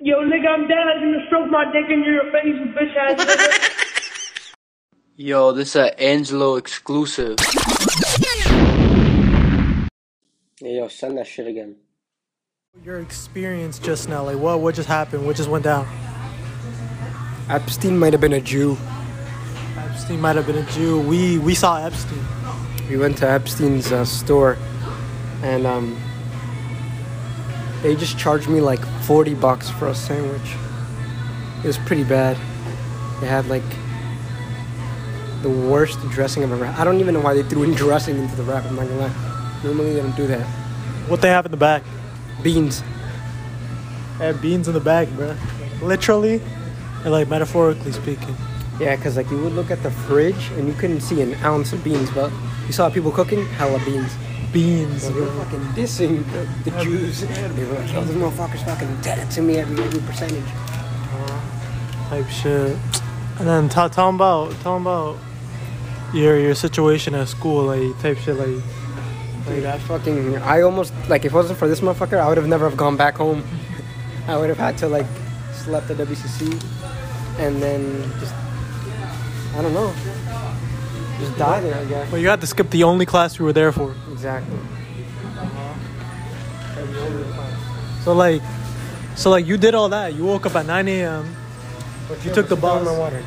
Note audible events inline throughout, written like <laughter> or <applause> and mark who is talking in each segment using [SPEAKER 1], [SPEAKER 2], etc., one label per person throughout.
[SPEAKER 1] Yo, nigga, I'm dead. I'm gonna stroke my dick in your face, you bitch ass nigga.
[SPEAKER 2] Yo, this a Angelo exclusive.
[SPEAKER 3] Yeah, yo, send that shit again.
[SPEAKER 4] Your experience just now, like what what just happened? What just went down?
[SPEAKER 5] Epstein might have been a Jew.
[SPEAKER 4] Epstein might have been a Jew. We we saw Epstein.
[SPEAKER 5] We went to Epstein's uh, store, and um, they just charged me like 40 bucks for a sandwich. It was pretty bad. They had like the worst dressing I've ever. I don't even know why they threw in <laughs> dressing into the wrap. I'm not gonna lie. Normally they don't do that.
[SPEAKER 4] What they have in the back?
[SPEAKER 5] Beans.
[SPEAKER 4] They have beans in the back, bruh. Literally, and like metaphorically speaking.
[SPEAKER 5] Yeah, cause like you would look at the fridge and you couldn't see an ounce of beans, but you saw people cooking hella beans.
[SPEAKER 4] Beans,
[SPEAKER 5] So they were
[SPEAKER 4] bro.
[SPEAKER 5] fucking dissing the, the Jews. They were like, yo, this motherfucker's fucking dead to me every, every percentage.
[SPEAKER 4] Type shit. And then tell tell 'em about tell 'em about your your situation at school, like type shit, like
[SPEAKER 5] Dude, I fucking, I almost, like, if it wasn't for this motherfucker, I would have never have gone back home. <laughs> I would have had to, like, slept at WCC and then just, I don't know, just die there, I guess.
[SPEAKER 4] But you had to skip the only class you were there for.
[SPEAKER 5] Exactly.
[SPEAKER 4] So like, so like you did all that. You woke up at 9 a.m. You took the bus.
[SPEAKER 5] my water.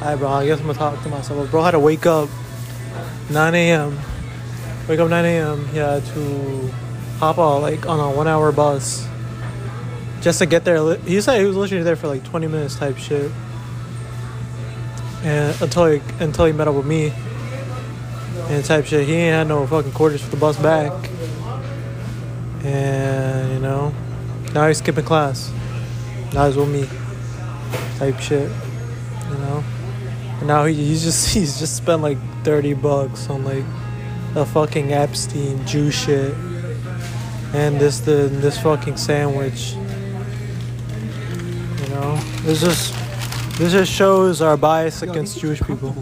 [SPEAKER 4] Alright, bro. I guess I'm gonna talk to myself. Bro had to wake up 9 a.m. Wake up 9 a.m. Yeah, to hop out like on a one-hour bus just to get there. Li- He said he was literally there for like 20 minutes type shit, and until he, until he met up with me and type shit. He ain't had no fucking quarters for the bus back, and you know now he's skipping class. Now he's with me type shit you know. And now he, he's just <laughs> he's just spent like thirty bucks on like a fucking Epstein Jew shit, and this the this fucking sandwich. You know, this just this just shows our bias against Jewish people.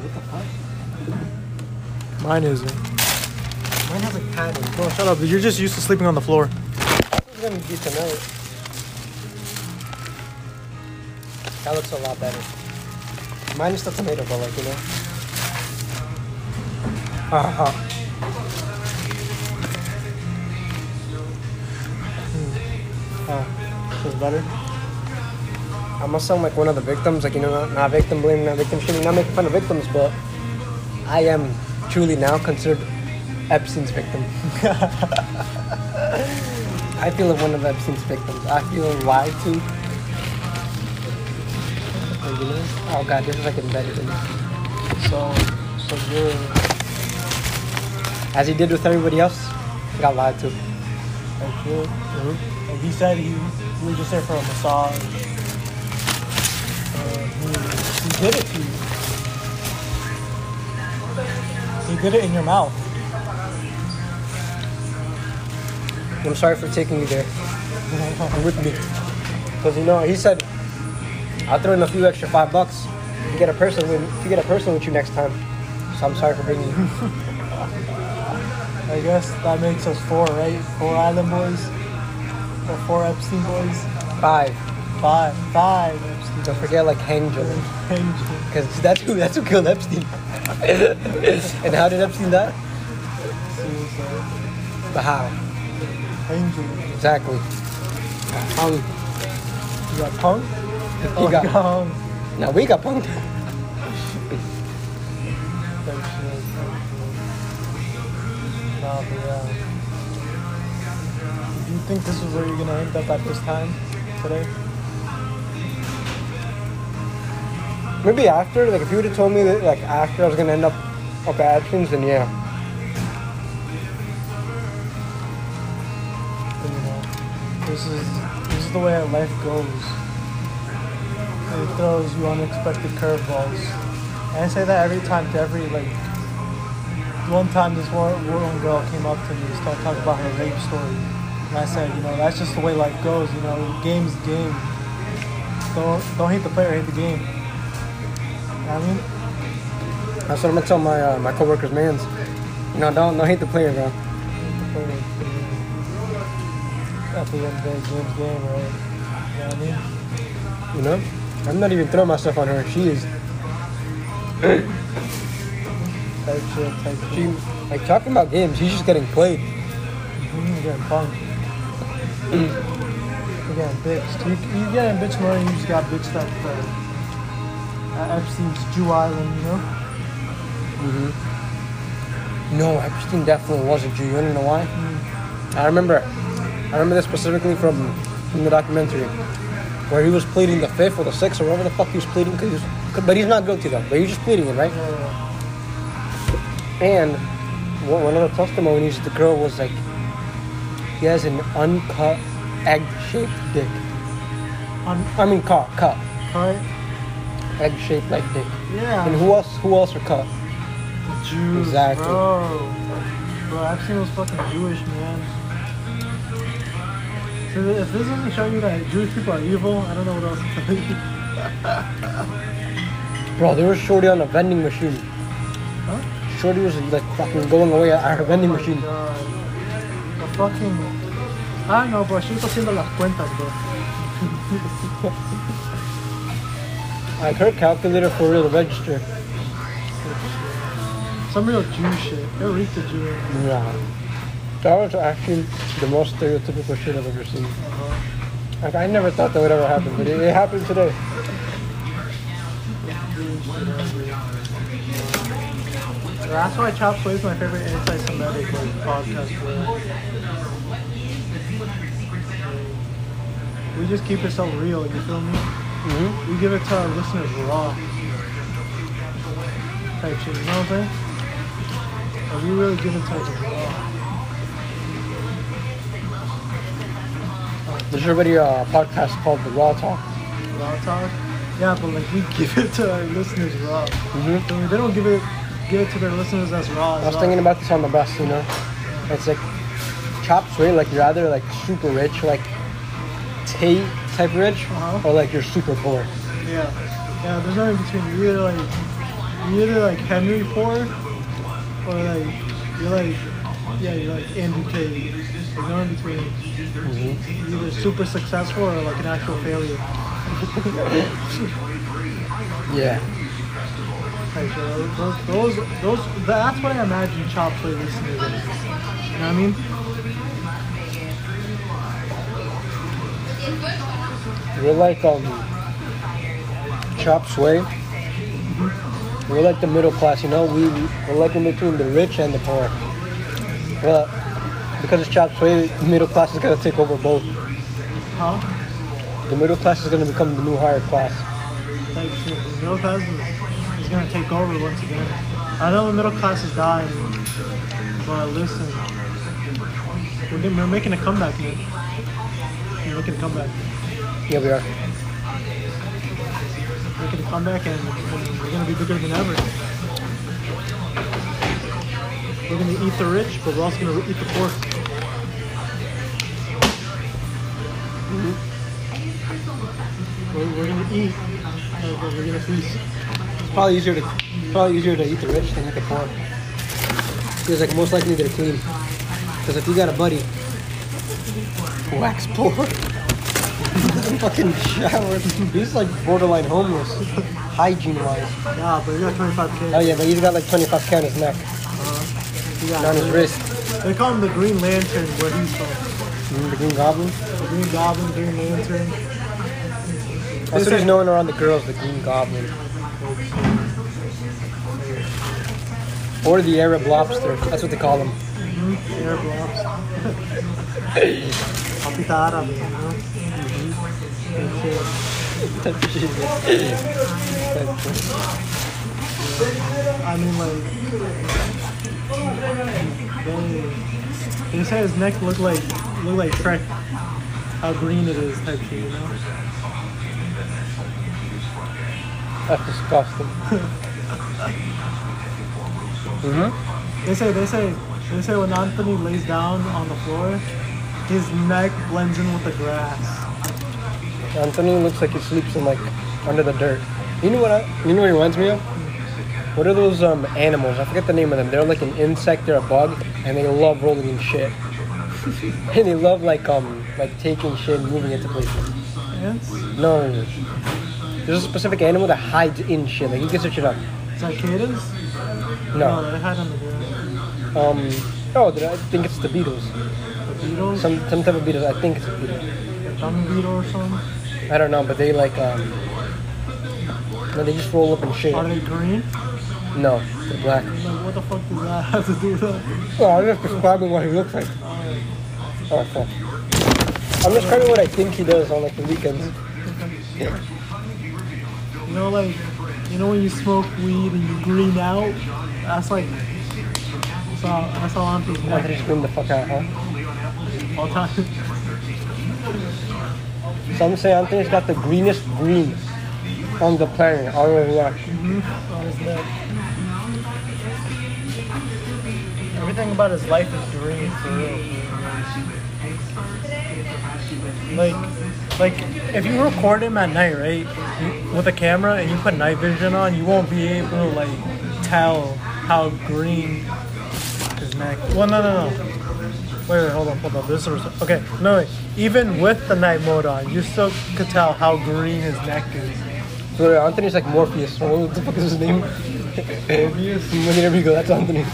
[SPEAKER 4] Mine isn't.
[SPEAKER 5] Mine has a pattern.
[SPEAKER 4] Bro, shut up. You're just used to sleeping on the floor.
[SPEAKER 5] I'm gonna get to know it. That looks a lot better. Mine is still tomato, but like, you know. Uh-huh. Hmm. Oh,
[SPEAKER 4] Feels better.
[SPEAKER 5] I must sound like one of the victims, like you know, not, not victim blaming, not victim shaming, not making fun of victims, but I am truly now considered Epstein's victim. I feel like one of Epstein's victims. I feel lied to. Like, you know? Oh god, this is like embedded in it.
[SPEAKER 4] So, so you're
[SPEAKER 5] As he did with everybody else, I got lied to.
[SPEAKER 4] like you Like uh, he said he, he was just there for a massage. And he, he did it to you. He did it in your mouth.
[SPEAKER 5] I'm sorry for taking you there. <laughs> with me. Because you know, he said, I'll throw in a few extra five bucks. You get a person with if you get a person with you next time. So I'm sorry for bringing you.
[SPEAKER 4] I guess that makes us four, right? Four Island Boys. Or four Epstein Boys.
[SPEAKER 5] Five.
[SPEAKER 4] Five. Five Epstein
[SPEAKER 5] Don't forget like hang Joel.
[SPEAKER 4] Angels.
[SPEAKER 5] Because that's who that's who killed Epstein. <laughs> and how did Epstein die?
[SPEAKER 4] Suicide.
[SPEAKER 5] The how.
[SPEAKER 4] Angels.
[SPEAKER 5] Exactly. Hung.
[SPEAKER 4] You got punk?
[SPEAKER 5] He
[SPEAKER 4] Oh,
[SPEAKER 5] got
[SPEAKER 4] <laughs> God.
[SPEAKER 5] now we got punked.
[SPEAKER 4] Type shit, type shit. Nah, but yeah. uh, Do you think this is where you're gonna end up at this time today?
[SPEAKER 5] Maybe after, like if you would have told me that like after I was gonna end up up at Epstein's, then yeah.
[SPEAKER 4] But, you know, this is this is the way that life goes. It throws you unexpected curveballs, and I say that every time to every like. One time, this one, one girl came up to me and started talking about her rape story, and I said, you know, that's just the way life goes. You know, game's game. Don't don't hate the player, hate the game. You know what I mean,
[SPEAKER 5] That's what I'm gonna tell my uh, my coworkers, man's. You know, don't don't hate the player, bro.
[SPEAKER 4] at the end of the James game, right? You know what I mean?
[SPEAKER 5] You know? I'm not even throwing myself on her. She is
[SPEAKER 4] Type shit, type
[SPEAKER 5] she
[SPEAKER 4] shit.
[SPEAKER 5] like talking about games, she's just getting played.
[SPEAKER 4] You're getting punked.
[SPEAKER 5] Mm.
[SPEAKER 4] You're getting bitched. You, you getting bitched more than you just got bitched at, uh, at Epstein's Jew Island, you know?
[SPEAKER 5] No, Epstein definitely was a Jew. You wanna know why? I remember I remember this specifically from from the documentary. Where he was pleading the fifth or the sixth or whatever the fuck he was pleading, 'cause he was, but he's not guilty though. But he's just pleading it, right?
[SPEAKER 4] Uh,
[SPEAKER 5] And one one of the testimonies, the girl was like, he has an uncut egg-shaped dick.
[SPEAKER 4] on,
[SPEAKER 5] I mean, cut, cut,
[SPEAKER 4] right?
[SPEAKER 5] egg-shaped like dick.
[SPEAKER 4] Yeah.
[SPEAKER 5] And who else? Who else are cut?
[SPEAKER 4] The Jews,
[SPEAKER 5] Exactly.
[SPEAKER 4] bro. Bro, Epstein was fucking Jewish, man. So th- if this doesn't show you that Jewish people are evil, I don't know what else to tell you.
[SPEAKER 5] Bro, there was Shorty on a vending machine.
[SPEAKER 4] Huh?
[SPEAKER 5] Shorty was like fucking going away at her vending
[SPEAKER 4] Oh my
[SPEAKER 5] <laughs> machine.
[SPEAKER 4] God. The fucking... Ah, no, bro. She was haciendo las cuentas, bro.
[SPEAKER 5] Like her calculator for real, the register.
[SPEAKER 4] Some real Jew shit. It reeked of Jew.
[SPEAKER 5] Nah. That was actually the most stereotypical shit I've ever seen. Like I never thought that would ever happen, but it, it happened today.
[SPEAKER 4] That's why Chop Sway is my favorite anti-Semitic like, podcast. Bro. We just keep it so real, you feel me?
[SPEAKER 5] Mhm.
[SPEAKER 4] We give it to our listeners raw. Type shit, you know what I'm saying? Like, we really give it to them raw.
[SPEAKER 5] There's already a podcast called The Raw Talk.
[SPEAKER 4] Raw talk. Yeah, but like we <laughs> give it to our listeners raw. I mean, they don't give it give it to their listeners as raw.
[SPEAKER 5] I was thinking about this on the bus, you know. It's like chop suey, like you're either like super rich, like Tate type rich,
[SPEAKER 4] Uh-huh.
[SPEAKER 5] or like you're super poor.
[SPEAKER 4] Yeah, yeah. There's no in between. You're either like, you're either like Henry Ford, or like you're like, yeah, you're like Andrew Tate. There's no in between. You're either super successful or like an actual failure.
[SPEAKER 5] Yeah.
[SPEAKER 4] Like, uh, those, those, those. That's what I imagine Chop Play listeners. Is. You know what I mean?
[SPEAKER 5] We're like um chop suey. We're like the middle class, you know. We we- we're like in between the rich and the poor. Well, because it's chop suey, the middle class is gonna take over both.
[SPEAKER 4] Huh?
[SPEAKER 5] The middle class is gonna become the new higher class.
[SPEAKER 4] Like shit. The middle class is, is gonna take over once again. I know the middle class is dying, but listen, we're, getting, we're making a comeback, man. We're making a comeback.
[SPEAKER 5] Yeah, we are.
[SPEAKER 4] We're gonna come back and we're gonna be bigger than ever. We're gonna eat the rich, but we're also gonna eat the poor. We're, we're gonna eat, uh, but we're gonna feast.
[SPEAKER 5] It's probably easier to it's probably easier to eat the rich than eat the poor. Because like most likely they're clean. Because if you got a buddy, wax poor, <laughs> fucking shower, he's like borderline homeless, hygiene wise.
[SPEAKER 4] Yeah, but we got 25k.
[SPEAKER 5] Oh yeah, but he's got like 25k on his neck,
[SPEAKER 4] We got-
[SPEAKER 5] and on his wrist.
[SPEAKER 4] They call him the Green Lantern where he's from.
[SPEAKER 5] Mm, the Green Goblin.
[SPEAKER 4] The Green Goblin, Green Lantern.
[SPEAKER 5] That's what he's known around the girls, the Green Goblin. Or the Arab lobster. That's what they call him.
[SPEAKER 4] Air blobs. <laughs> Papita árabe, you know? And shit. I mean, like, they, they said his neck looked like looked like Shrek. How green it is, type shit, you know.
[SPEAKER 5] That's disgusting. hmm
[SPEAKER 4] They say they say they say when Anthony lays down on the floor, his neck blends in with the grass.
[SPEAKER 5] Anthony looks like he sleeps in like under the dirt. You know what? I, you know what he reminds me of? What are those um animals? I forget the name of them. They're like <laughs> an insect. They're a bug, and they love rolling in shit. and they love like um like taking shit and moving it to places.
[SPEAKER 4] Ants?
[SPEAKER 5] No, no, no. There's a specific animal that hides in shit. Like you can search it up.
[SPEAKER 4] Cicadas?
[SPEAKER 5] No.
[SPEAKER 4] they hide under there.
[SPEAKER 5] Um. Oh, then I think it's the beetles.
[SPEAKER 4] The beetles?
[SPEAKER 5] Some some type of beetles. I think it's a beetle.
[SPEAKER 4] dung beetle or something? <laughs>
[SPEAKER 5] I don't know, but they like um. No, they just roll up and shit.
[SPEAKER 4] Are they green?
[SPEAKER 5] No, they're black.
[SPEAKER 4] Like, what the fuck does that have to do with that?
[SPEAKER 5] Oh, I'm just describing what he looks like. Oh, fuck. I'm just describing what I think he does on like the weekends.
[SPEAKER 4] You know, like, you know when you smoke weed and you green out? That's like, that's all, that's all I'm thinking
[SPEAKER 5] I just
[SPEAKER 4] like,
[SPEAKER 5] scream the fuck out, huh?
[SPEAKER 4] all time.
[SPEAKER 5] Some say Anthony's got the greenest green on the planet. All over the world.
[SPEAKER 4] on his neck. Everything about his life is green for real. Like, like if you record him at night, right, you- with a camera and you put night vision on, you won't be able to like tell how green his neck. Well, no, no, no. Wait, wait, hold on, hold on. This is okay. No, wait. even with the night mode on, you still could tell how green his neck is.
[SPEAKER 5] So Anthony's like Morpheus. Or what the fuck is his name? <laughs> Morpheus. there we go. That's Anthony. <laughs>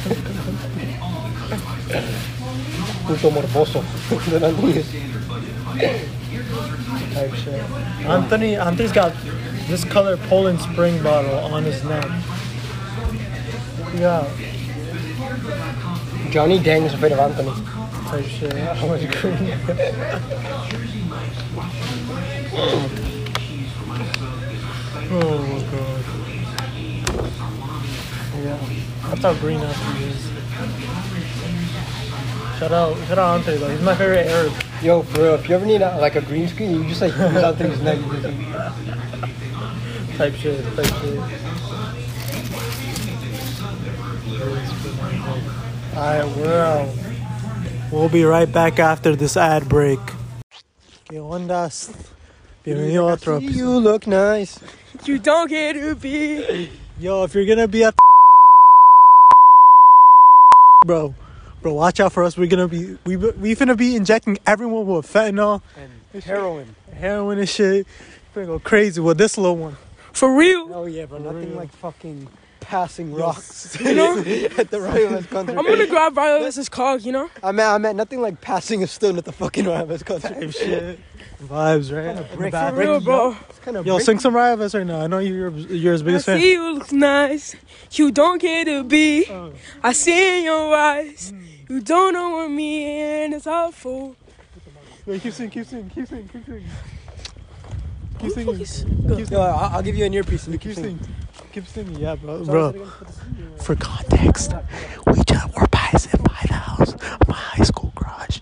[SPEAKER 5] Puto morboso. <laughs> That's Anthony is. Type shit.
[SPEAKER 4] Anthony, Anthony's got this color Poland Spring bottle on his neck. Yeah,
[SPEAKER 5] Johnny Dang is afraid of Anthony.
[SPEAKER 4] type shit.
[SPEAKER 5] How much green?
[SPEAKER 4] Oh my god. Yeah, that's how green Anthony is. Shout out, shout out Anthony though. He's my favorite Arab.
[SPEAKER 5] Yo, for real, if you ever need a, like a green screen, you just like use Anthony's neck.
[SPEAKER 4] Type shit, type shit. Alright, we're out. We'll be right back after this ad break. ¿Qué ondas? Bienvenido a otro. epi-
[SPEAKER 5] You look nice.
[SPEAKER 2] <laughs> You don't get Ubi.
[SPEAKER 4] Yo, if you're gonna be at bro, bro, watch out for us. We're gonna be we we finna be injecting everyone with fentanyl,
[SPEAKER 5] Heroin.
[SPEAKER 4] heroin and shit. We're gonna go crazy with this little one.
[SPEAKER 2] For real.
[SPEAKER 5] Oh yeah, but nothing
[SPEAKER 4] real.
[SPEAKER 5] like fucking passing rocks <laughs>
[SPEAKER 2] You know,
[SPEAKER 5] at the Royal West Country.
[SPEAKER 2] I'm gonna grab Violet's cock. You know.
[SPEAKER 5] I meant, I meant nothing like passing a stone at the fucking Royal West Country.
[SPEAKER 4] <laughs> Shit. Vibes, right? In the
[SPEAKER 5] break-
[SPEAKER 4] back.
[SPEAKER 2] For real, bro.
[SPEAKER 5] It's kind of
[SPEAKER 4] Yo, sing some Mariah Carey right now. I know you're you're his
[SPEAKER 2] I
[SPEAKER 4] biggest fan.
[SPEAKER 2] see you look nice. You don't get to be. I see in your eyes. You don't know what me and it's awful.
[SPEAKER 4] Wait, keep singing, keep singing, keep singing, keep singing. Keep
[SPEAKER 2] Who the fuck
[SPEAKER 4] singing,
[SPEAKER 2] is-
[SPEAKER 4] keep
[SPEAKER 5] No,
[SPEAKER 4] singing,
[SPEAKER 5] I'll, I'll give you an earpiece. and you
[SPEAKER 4] keep
[SPEAKER 5] can sing.
[SPEAKER 4] singing, keep singing. Yeah, bro.
[SPEAKER 5] Sorry,
[SPEAKER 4] Bro, for context, we just were passing by the house, my high school garage.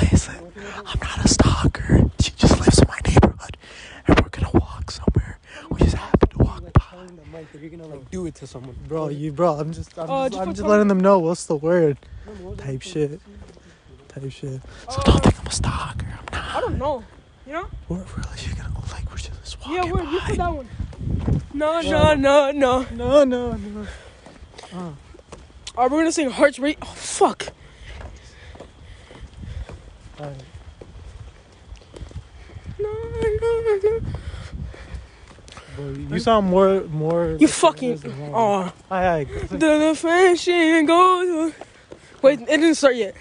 [SPEAKER 4] Listen, I'm not a stalker. She just lives in my neighborhood, and we're gonna walk somewhere. We just happened to walk
[SPEAKER 5] Like
[SPEAKER 4] by.
[SPEAKER 5] telling the mic that you're gonna like do it to someone.
[SPEAKER 4] Bro, you, bro, I'm just, I'm
[SPEAKER 2] Oh,
[SPEAKER 4] just,
[SPEAKER 2] just
[SPEAKER 4] I'm
[SPEAKER 2] put
[SPEAKER 4] just
[SPEAKER 2] some-
[SPEAKER 4] letting them know what's the word. Type shit. Type shit. So don't think I'm a stalker. I'm not.
[SPEAKER 2] I don't know. You know?
[SPEAKER 4] We're really just gonna go like we're just walking
[SPEAKER 2] Yeah, where you
[SPEAKER 4] by.
[SPEAKER 2] put that one? No, no, no, no.
[SPEAKER 4] No, no, no.
[SPEAKER 2] Are we gonna sing Hearts Rate? Oh fuck.
[SPEAKER 4] Alright.
[SPEAKER 2] No, no, no.
[SPEAKER 4] Bro, you sound more, more.
[SPEAKER 2] You fucking. Oh,
[SPEAKER 4] Aye, aye.
[SPEAKER 2] the defension goes. Wait, it didn't start yet.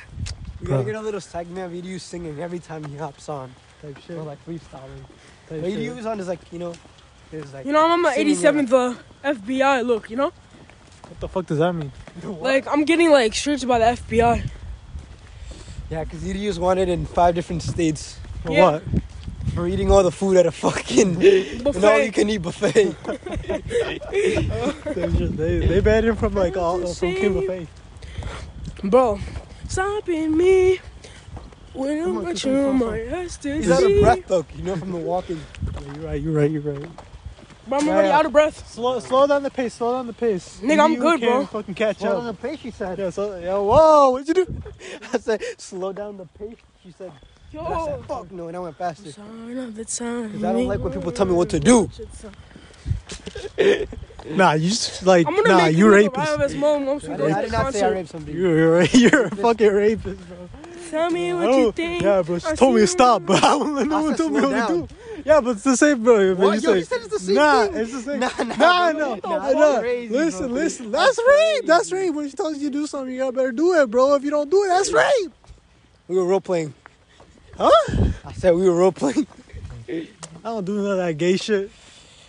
[SPEAKER 5] We gotta
[SPEAKER 4] Bro.
[SPEAKER 5] get a little segment of you singing every time he hops on.
[SPEAKER 4] Type shit.
[SPEAKER 5] Or like freestyling.
[SPEAKER 4] Type
[SPEAKER 5] When he
[SPEAKER 4] shit.
[SPEAKER 5] was on is like, you know, is like.
[SPEAKER 2] You know, I'm on my
[SPEAKER 5] singing,
[SPEAKER 2] 87th uh, FBI look, you know?
[SPEAKER 4] What the fuck does that mean?
[SPEAKER 2] Like, I'm getting, like, searched by the FBI.
[SPEAKER 5] Yeah, because he was wanted in five different states
[SPEAKER 4] For
[SPEAKER 2] Yeah.
[SPEAKER 4] what?
[SPEAKER 5] for eating all the food at a fucking an all you
[SPEAKER 2] <laughs> Buffet.
[SPEAKER 5] can eat buffet.
[SPEAKER 2] <laughs>
[SPEAKER 4] They, just- they, they banned him from
[SPEAKER 2] <laughs>
[SPEAKER 4] like all
[SPEAKER 2] Just
[SPEAKER 4] from King
[SPEAKER 2] saying.
[SPEAKER 4] Buffet.
[SPEAKER 2] Bro, stopping me when
[SPEAKER 4] Come
[SPEAKER 2] I'm
[SPEAKER 4] on,
[SPEAKER 2] with
[SPEAKER 4] come on,
[SPEAKER 2] you,
[SPEAKER 4] come
[SPEAKER 2] my
[SPEAKER 4] on.
[SPEAKER 5] He's out of
[SPEAKER 2] ecstasy.
[SPEAKER 5] breath though, you know, from the walking.
[SPEAKER 4] Yeah, you're right. You're right. You're right.
[SPEAKER 2] Bro, I'm already
[SPEAKER 5] Yeah.
[SPEAKER 2] out of breath.
[SPEAKER 4] Slow, slow down the pace. Slow down the pace.
[SPEAKER 2] Nigga, I'm
[SPEAKER 4] You
[SPEAKER 2] good,
[SPEAKER 4] can
[SPEAKER 2] bro.
[SPEAKER 4] Fucking catch
[SPEAKER 5] Slow down
[SPEAKER 4] up.
[SPEAKER 5] the pace, she said.
[SPEAKER 4] Yeah. So, yeah. Whoa! What'd you do?
[SPEAKER 5] I said, slow down the pace. She said, and I said, fuck no, and I went faster.
[SPEAKER 2] Sign of the time.
[SPEAKER 5] Because I don't like when people tell me what to do.
[SPEAKER 4] Nah, you just like
[SPEAKER 2] I'm gonna
[SPEAKER 4] nah.
[SPEAKER 2] make
[SPEAKER 4] You
[SPEAKER 2] look
[SPEAKER 4] rapist.
[SPEAKER 2] alive as mom once we
[SPEAKER 5] I
[SPEAKER 2] go
[SPEAKER 5] did,
[SPEAKER 2] to
[SPEAKER 5] I
[SPEAKER 2] the
[SPEAKER 5] did not say I
[SPEAKER 4] <laughs>
[SPEAKER 2] concert.
[SPEAKER 5] raped somebody.
[SPEAKER 4] You're you're a fucking rapist, bro.
[SPEAKER 2] Tell me what
[SPEAKER 4] Oh,
[SPEAKER 2] you think.
[SPEAKER 4] yeah, bro. She
[SPEAKER 2] I
[SPEAKER 4] told me to
[SPEAKER 2] see
[SPEAKER 4] stop,
[SPEAKER 2] you.
[SPEAKER 4] but <laughs> I won't let no
[SPEAKER 5] I
[SPEAKER 4] one
[SPEAKER 5] said
[SPEAKER 4] told me
[SPEAKER 5] slow
[SPEAKER 4] what to
[SPEAKER 5] down.
[SPEAKER 4] do. Yeah, but it's the same, bro. But
[SPEAKER 5] What?
[SPEAKER 4] you
[SPEAKER 5] Yo, he
[SPEAKER 4] say-
[SPEAKER 5] said it's the same
[SPEAKER 4] nah,
[SPEAKER 5] thing.
[SPEAKER 4] it's the same.
[SPEAKER 5] Nah, nah,
[SPEAKER 4] nah,
[SPEAKER 5] bro.
[SPEAKER 4] no,
[SPEAKER 5] Nah,
[SPEAKER 4] nah.
[SPEAKER 5] that's crazy, bro.
[SPEAKER 4] Listen, listen. That's rape. That's rape. When she tells you to do something, you gotta better do it, bro. If you don't do it, that's rape.
[SPEAKER 5] We were role playing.
[SPEAKER 4] Huh?
[SPEAKER 5] I said we were role playing. <laughs>
[SPEAKER 4] I don't do none of that gay shit.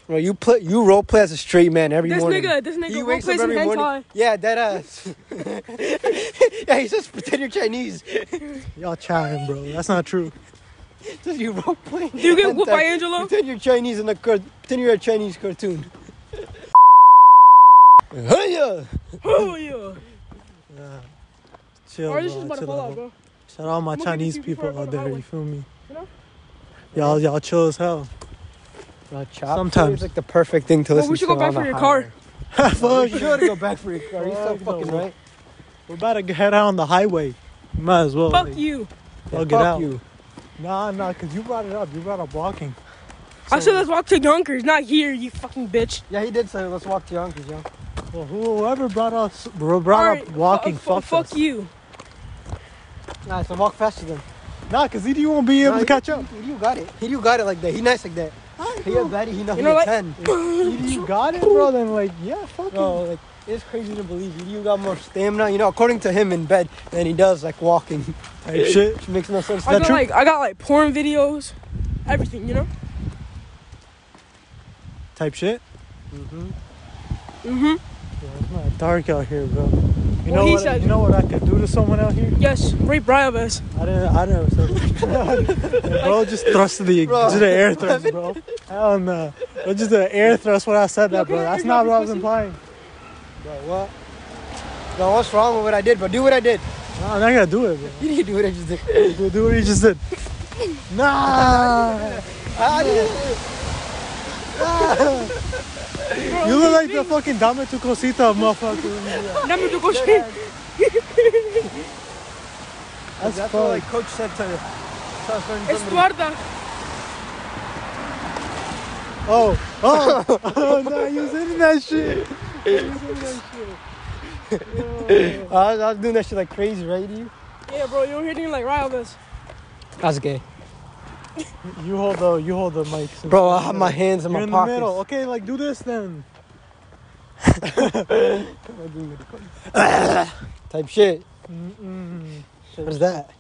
[SPEAKER 5] Bro, you play, you role play as a straight man every
[SPEAKER 2] This
[SPEAKER 5] morning.
[SPEAKER 2] nigga- this nigga
[SPEAKER 5] He
[SPEAKER 2] role
[SPEAKER 5] wakes up
[SPEAKER 2] plays in
[SPEAKER 5] every morning.
[SPEAKER 2] hentai.
[SPEAKER 5] Yeah, dead ass. <laughs> yeah, he says pretend you're Chinese.
[SPEAKER 4] Y'all trying, bro. That's not true.
[SPEAKER 5] Just you role playing.
[SPEAKER 2] Do you get whooped by
[SPEAKER 5] hentai.
[SPEAKER 2] Angelo?
[SPEAKER 5] Pretend you're Chinese in a car- pretend you're a Chinese cartoon. Hey-ya!
[SPEAKER 2] Oh yeah.
[SPEAKER 4] Chill,
[SPEAKER 2] Or this
[SPEAKER 4] bro.
[SPEAKER 2] is about to
[SPEAKER 4] chill
[SPEAKER 2] fall
[SPEAKER 4] out.
[SPEAKER 2] out, bro.
[SPEAKER 4] Shout out my
[SPEAKER 2] I'ma get
[SPEAKER 4] Chinese
[SPEAKER 2] this before I
[SPEAKER 4] people
[SPEAKER 2] go
[SPEAKER 4] out
[SPEAKER 2] to
[SPEAKER 4] there.
[SPEAKER 2] Highway.
[SPEAKER 4] You feel me?
[SPEAKER 2] You know?
[SPEAKER 4] Y'all, y'all chill as hell. <laughs>
[SPEAKER 5] Bro, chop
[SPEAKER 4] Sometimes.
[SPEAKER 5] is like the perfect thing to
[SPEAKER 2] Well,
[SPEAKER 5] listen
[SPEAKER 2] we should go
[SPEAKER 5] to
[SPEAKER 2] back
[SPEAKER 5] on
[SPEAKER 2] for
[SPEAKER 5] the
[SPEAKER 2] your
[SPEAKER 5] highway.
[SPEAKER 2] car.
[SPEAKER 4] Fuck.
[SPEAKER 5] Oh, You should go back for your car. You're so
[SPEAKER 4] Fuck no.
[SPEAKER 5] fucking right.
[SPEAKER 4] We're about to head out on the highway. Might as well.
[SPEAKER 2] Fuck
[SPEAKER 4] like,
[SPEAKER 2] you.
[SPEAKER 4] I'll
[SPEAKER 5] Yeah,
[SPEAKER 4] get
[SPEAKER 5] fuck
[SPEAKER 4] out.
[SPEAKER 5] you.
[SPEAKER 4] Nah, nah, because you brought it up. You brought up walking.
[SPEAKER 2] I said let's walk to Dunkers, not here, you fucking bitch.
[SPEAKER 5] Yeah, he did say, let's walk to your uncle's, yo.
[SPEAKER 4] Well, who- whoever brought us bro- brought
[SPEAKER 2] Alright,
[SPEAKER 4] up walking,
[SPEAKER 2] fu- fu-
[SPEAKER 4] fucked
[SPEAKER 2] fuck
[SPEAKER 4] us.
[SPEAKER 2] you.
[SPEAKER 5] Nah, so walk faster than.
[SPEAKER 4] Nah, because you won't be able
[SPEAKER 5] Nah,
[SPEAKER 4] to catch up.
[SPEAKER 5] He, he, you got it. He, you got it like that. He nice like that. He a baddie. He know
[SPEAKER 2] You
[SPEAKER 5] he
[SPEAKER 2] know
[SPEAKER 5] a
[SPEAKER 2] what?
[SPEAKER 5] 10.
[SPEAKER 2] <laughs>
[SPEAKER 4] You got it, bro. Then, like, yeah, fuck
[SPEAKER 5] Bro, like, it's crazy to believe you. You got more stamina, you know, according to him in bed, than he does, like, walking.
[SPEAKER 4] it. Type shit.
[SPEAKER 5] Which makes no sense.
[SPEAKER 2] I
[SPEAKER 5] That
[SPEAKER 2] got
[SPEAKER 5] true?
[SPEAKER 2] like I got like porn videos, everything, you know?
[SPEAKER 4] Type shit.
[SPEAKER 2] Mm-hmm.
[SPEAKER 4] Bro, it's not dark out here, bro. You
[SPEAKER 2] Well,
[SPEAKER 4] know
[SPEAKER 2] he
[SPEAKER 4] what?
[SPEAKER 2] said-
[SPEAKER 4] you know what I could do to someone out here?
[SPEAKER 2] Yes, rape Briabas.
[SPEAKER 4] I didn't. I never said. <laughs> that. bro, just thrust the
[SPEAKER 5] Bro.
[SPEAKER 4] just the air thrust,
[SPEAKER 5] <laughs>
[SPEAKER 4] bro. Hell no. Bro, just the air thrust when I said that,
[SPEAKER 2] Look,
[SPEAKER 4] bro.
[SPEAKER 2] here,
[SPEAKER 4] That's
[SPEAKER 2] you
[SPEAKER 4] not
[SPEAKER 2] got
[SPEAKER 4] what I was
[SPEAKER 2] pussy.
[SPEAKER 4] implying.
[SPEAKER 5] Bro, what? Bro, what's wrong with what I did, bro? Do what I did.
[SPEAKER 4] No, I'm not gonna do it, bro.
[SPEAKER 5] You didn't do what I just did.
[SPEAKER 4] Do, do what you just did. Nah.
[SPEAKER 5] <laughs> I didn't.
[SPEAKER 4] You look like the fucking Dame tu Cosita motherfucker.
[SPEAKER 2] Number to go shit.
[SPEAKER 5] That's,
[SPEAKER 4] That's
[SPEAKER 5] what,
[SPEAKER 4] fucked.
[SPEAKER 5] like, coach said to, to a certain
[SPEAKER 2] It's
[SPEAKER 5] somebody.
[SPEAKER 2] guarda.
[SPEAKER 4] Oh, oh, <laughs> oh no, you was hitting that shit.
[SPEAKER 5] I was, I was doing that shit like crazy, right? You?
[SPEAKER 2] Yeah, bro, you're hitting like Briabas.
[SPEAKER 5] That's gay.
[SPEAKER 4] You hold the, you hold the mic. since
[SPEAKER 5] Bro,
[SPEAKER 4] you're
[SPEAKER 5] I
[SPEAKER 4] in
[SPEAKER 5] have
[SPEAKER 4] the
[SPEAKER 5] my
[SPEAKER 4] middle.
[SPEAKER 5] hands in
[SPEAKER 4] You're
[SPEAKER 5] my
[SPEAKER 4] in the
[SPEAKER 5] pockets.
[SPEAKER 4] middle. Okay, like do this then.
[SPEAKER 5] Type shit.
[SPEAKER 4] Mm-mm.
[SPEAKER 5] What is that?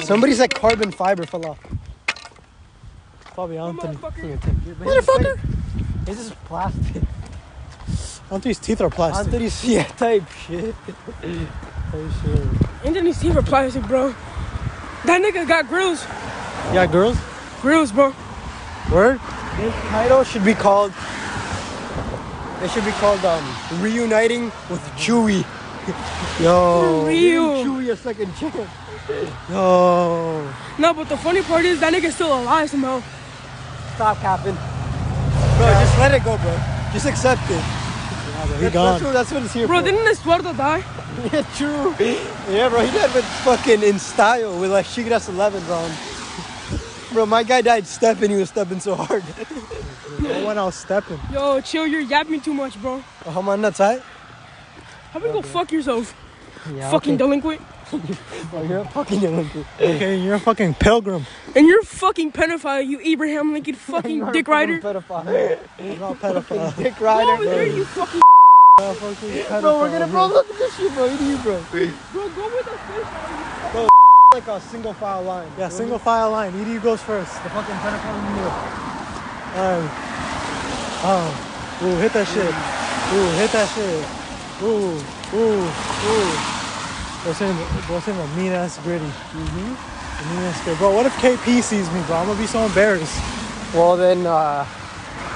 [SPEAKER 5] Somebody's like carbon fiber fell off.
[SPEAKER 4] Probably Anthony.
[SPEAKER 2] Motherfucker.
[SPEAKER 5] Motherfucker! This is <laughs> plastic.
[SPEAKER 4] Anthony's teeth are plastic.
[SPEAKER 5] Anthony's yeah, type shit. type shit.
[SPEAKER 2] Anthony's teeth are plastic, bro. That nigga got grills.
[SPEAKER 4] Yeah, girls.
[SPEAKER 2] Grills, bro.
[SPEAKER 5] Word? This title should be called. It should be called um, Reuniting with Chewy.
[SPEAKER 4] Yo,
[SPEAKER 5] Giving
[SPEAKER 2] Real.
[SPEAKER 5] Chewy a second chance.
[SPEAKER 4] yo.
[SPEAKER 2] No, but the funny part is that nigga's still alive somehow.
[SPEAKER 5] Stop capping. Bro, just let it go, bro. Just accept it.
[SPEAKER 4] He
[SPEAKER 5] That's, that's,
[SPEAKER 4] gone.
[SPEAKER 5] what, that's what it's here
[SPEAKER 2] Bro,
[SPEAKER 5] for.
[SPEAKER 2] didn't Estuardo die?
[SPEAKER 5] yeah, <laughs> true. Yeah, bro, he died with fucking in style with like Shigras 11s on. <laughs> Bro, my guy died stepping. He was stepping
[SPEAKER 4] <laughs>
[SPEAKER 5] so hard.
[SPEAKER 4] I went out stepping.
[SPEAKER 2] Yo, chill, you're yapping too much, bro.
[SPEAKER 5] Oh, I'm on that side.
[SPEAKER 2] How about you go fuck yourself?
[SPEAKER 5] Yeah,
[SPEAKER 2] fucking delinquent.
[SPEAKER 5] Bro, you're a fucking delinquent.
[SPEAKER 4] Okay, you're a fucking pilgrim.
[SPEAKER 2] And you're fucking pedophile, you Abraham
[SPEAKER 5] <laughs>
[SPEAKER 2] Lincoln fucking dick rider.
[SPEAKER 5] Pedophile.
[SPEAKER 4] I'm not a pedophile.
[SPEAKER 5] Dick rider.
[SPEAKER 2] Over there, you fucking
[SPEAKER 4] I'm a fucking
[SPEAKER 5] Bro, we're
[SPEAKER 4] pedophile,
[SPEAKER 5] gonna bro,
[SPEAKER 4] <laughs> bro.
[SPEAKER 5] look at this shit, bro. What do you, bro?
[SPEAKER 2] bro, go with the fish.
[SPEAKER 5] Like a single file line.
[SPEAKER 4] Yeah, single file line. ED goes first.
[SPEAKER 5] The fucking pedophile in the middle.
[SPEAKER 4] Alright. Oh. Ooh, hit that shit. Ooh, hit that shit. Ooh, ooh, ooh. What's in what's in a mean ass gritty? Mm-hmm. Mean ass gritty. Bro, what if KP sees me, bro? I'm gonna be so embarrassed.
[SPEAKER 5] Well then, uh,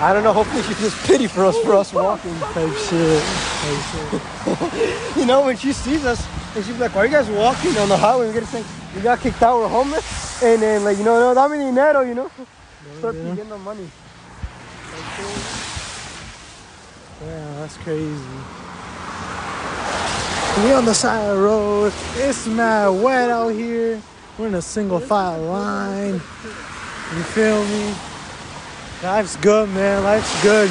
[SPEAKER 5] I don't know. Hopefully she feels <laughs> pity for us for us walking.
[SPEAKER 4] Type shit. Type shit.
[SPEAKER 5] <laughs> You know, when she sees us, and she's like, "Why are you guys walking on the highway?" We're gonna say, "We got kicked out. We're homeless." And then, like, you know, no, dame dinero, you know. Start
[SPEAKER 4] dinero.
[SPEAKER 5] getting the money.
[SPEAKER 4] Yeah, that's crazy. We on the side of the road. It's mad wet out here. We're in a single file line. You feel me? Life's good, man. Life's good.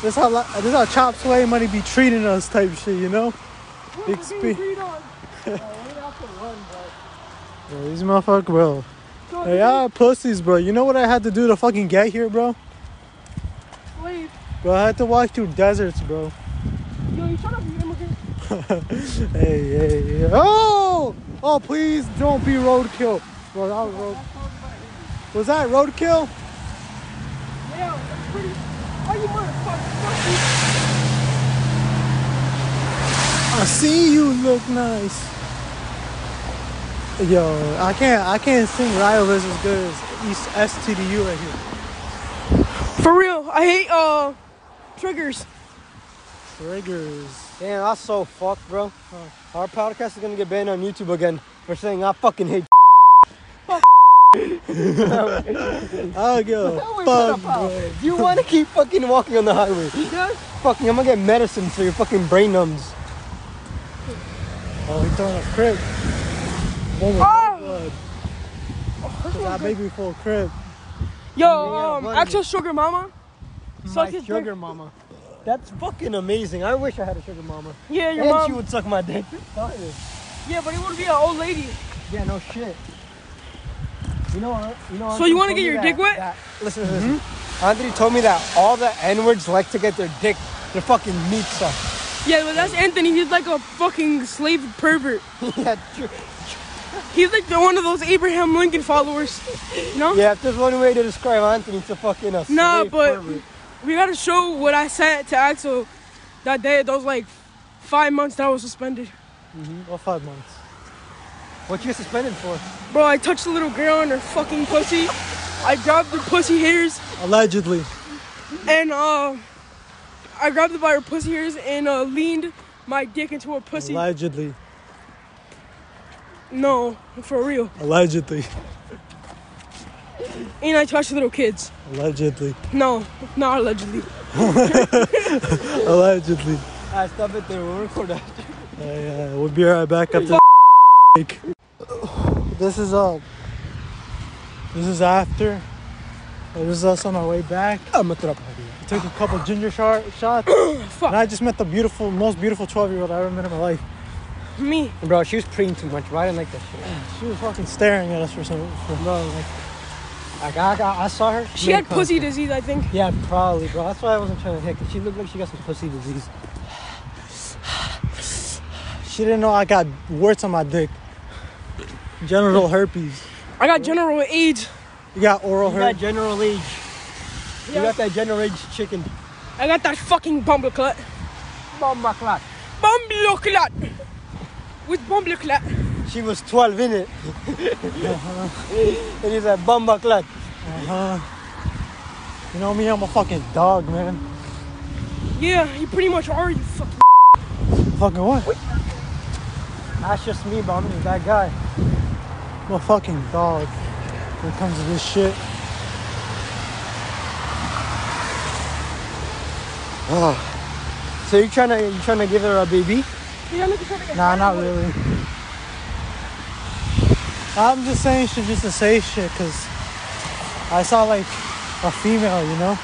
[SPEAKER 4] This how li- this how Chop Sway money be treating <laughs> us type shit, you know? Expe- Bro, these motherfuckers, bro. They are pussies, bro. You know what I had to do to fucking get here, bro?
[SPEAKER 2] Wait,
[SPEAKER 4] Bro, I had to walk through deserts, bro.
[SPEAKER 2] yo, you shut up, you immigrant.
[SPEAKER 4] hey, hey, hey. Oh! Oh, please don't be roadkill. Bro, that was road. Was that roadkill?
[SPEAKER 2] Yeah, that's pretty. Oh, you motherfucker. Fuck
[SPEAKER 4] I see you look nice. Yo, I can't I can't sing Rivals as good as East STDU right here.
[SPEAKER 2] you. For real, I hate, uh, triggers.
[SPEAKER 4] Triggers.
[SPEAKER 5] Damn, that's so fucked, bro. Our podcast is gonna get banned on YouTube again for saying I
[SPEAKER 4] <laughs>
[SPEAKER 5] fucking hate.
[SPEAKER 4] I go. Fuck, bro.
[SPEAKER 5] Do you wanna keep fucking walking on the highway? Fucking, I'm gonna get medicine so your fucking brain numbs.
[SPEAKER 4] Oh, he throwing a crib. One with
[SPEAKER 2] Oh!
[SPEAKER 4] blood.
[SPEAKER 5] Oh,
[SPEAKER 4] That baby full crib.
[SPEAKER 2] Yo, um,
[SPEAKER 5] buddy.
[SPEAKER 2] actual sugar mama. Suck his
[SPEAKER 5] sugar
[SPEAKER 2] dick.
[SPEAKER 5] mama. That's fucking amazing. I wish I had a sugar mama.
[SPEAKER 2] Yeah, your
[SPEAKER 5] and
[SPEAKER 2] mom.
[SPEAKER 5] she would suck my dick. Fire.
[SPEAKER 2] Yeah, but it would be an old lady.
[SPEAKER 5] Yeah, no shit. You know, uh, you know.
[SPEAKER 2] So you
[SPEAKER 5] Anthony told
[SPEAKER 2] wanna get
[SPEAKER 5] me
[SPEAKER 2] your
[SPEAKER 5] that-
[SPEAKER 2] dick wet? Mm-hmm.
[SPEAKER 5] that- listen, listen. Anthony told me that all the N-words like to get their dick, their fucking meat sucked. <laughs>
[SPEAKER 2] Yeah, but that's Anthony. He's like a fucking slave pervert.
[SPEAKER 5] yeah, true.
[SPEAKER 2] He's like the, one of those Abraham Lincoln followers. <laughs> You know?
[SPEAKER 5] Yeah, if there's one way to describe Anthony, it's a fucking a
[SPEAKER 2] Nah,
[SPEAKER 5] slave
[SPEAKER 2] but-
[SPEAKER 5] pervert.
[SPEAKER 2] We gotta show what I said to Axel that day, those like five months that I was suspended.
[SPEAKER 4] Well, five months.
[SPEAKER 5] What you suspended for?
[SPEAKER 2] Bro, I touched a little girl and her fucking pussy. I grabbed her pussy hairs
[SPEAKER 4] Allegedly.
[SPEAKER 2] and uh I grabbed her by her pussy hairs and uh leaned my dick into her pussy.
[SPEAKER 4] Allegedly.
[SPEAKER 2] No, for real.
[SPEAKER 4] Allegedly.
[SPEAKER 2] And I touched little kids.
[SPEAKER 4] Allegedly.
[SPEAKER 2] No, not allegedly.
[SPEAKER 4] Allegedly.
[SPEAKER 5] I stop it there. We'll record after.
[SPEAKER 4] <laughs> Yeah, yeah, we'll be right back after break. <sighs> This is uh This is after. It was us on our way back.
[SPEAKER 5] I'm gonna throw up.
[SPEAKER 4] We took a couple ginger shot, <coughs> shots. and I just met the beautiful, most beautiful 12 year old I ever met in my life.
[SPEAKER 2] Me.
[SPEAKER 5] Bro, she was preying too much. Bro, I didn't like that shit.
[SPEAKER 4] She was fucking staring at us for some. For,
[SPEAKER 5] Bro, like, like I, I, I saw her.
[SPEAKER 2] She had
[SPEAKER 5] made contact.
[SPEAKER 2] pussy disease, I think.
[SPEAKER 5] Yeah, probably, bro. That's why I wasn't trying to hit. 'cause she looked like she got some pussy disease.
[SPEAKER 4] she didn't know I got warts on my dick. Genital herpes.
[SPEAKER 2] I got general AIDS.
[SPEAKER 4] You got oral
[SPEAKER 5] You got
[SPEAKER 4] herpes.
[SPEAKER 5] General Age. You
[SPEAKER 2] Yeah.
[SPEAKER 5] got that General Age chicken.
[SPEAKER 2] I got that fucking bumble clot.
[SPEAKER 5] Mama clock.
[SPEAKER 2] Bumble clot. With bumble clot.
[SPEAKER 5] She was 12 in it. and he's like, Bamba clock.
[SPEAKER 4] Uh-huh. You know me, I'm a fucking dog, man.
[SPEAKER 2] Yeah, you pretty much are, you fucking.
[SPEAKER 4] Fucking what?
[SPEAKER 5] That's just me, but I'm just that guy.
[SPEAKER 4] I'm a fucking dog when it comes to this shit.
[SPEAKER 5] Ah. So you trying to you trying to give her a baby?
[SPEAKER 2] Yeah, look at her.
[SPEAKER 4] Nah, not really. I'm just saying shit just to say shit because I saw like a female, you know?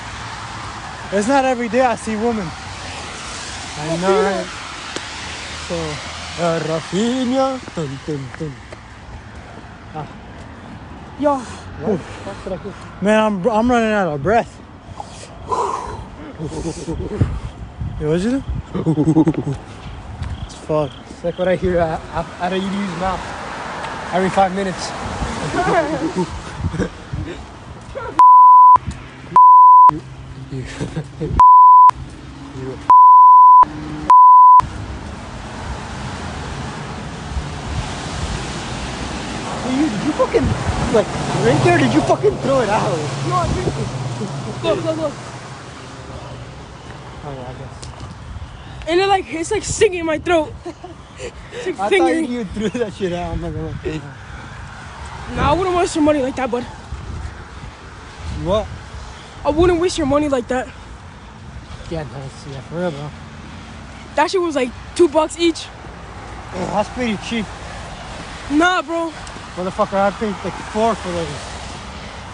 [SPEAKER 4] It's not every day I see women.
[SPEAKER 5] I know. Right?
[SPEAKER 4] So,
[SPEAKER 5] Uh, Rafinha. Dun, dun, dun.
[SPEAKER 4] Ah.
[SPEAKER 2] Yo,
[SPEAKER 4] man, I'm, I'm running out of breath. Yo, what'd you do? it's fucked.
[SPEAKER 5] It's like what I hear uh, out out of Yudi's mouth every five minutes. Did you, did you fucking like drink it or did you fucking throw it out?
[SPEAKER 2] no, I drink it. Look, look, look.
[SPEAKER 5] Oh, yeah, I guess.
[SPEAKER 2] And it like it's like singing in my throat. <laughs> It's like
[SPEAKER 5] I
[SPEAKER 2] fingering.
[SPEAKER 5] thought you threw that shit out. I'm not gonna lie.
[SPEAKER 2] Nah, I wouldn't waste your money like that, bud.
[SPEAKER 5] What?
[SPEAKER 2] I wouldn't waste your money like that.
[SPEAKER 5] Yeah, nice. Yeah, for real, bro.
[SPEAKER 2] That shit was like two bucks each.
[SPEAKER 5] Yeah, that's pretty cheap.
[SPEAKER 2] Nah, bro.
[SPEAKER 5] Motherfucker, I paid like four for those.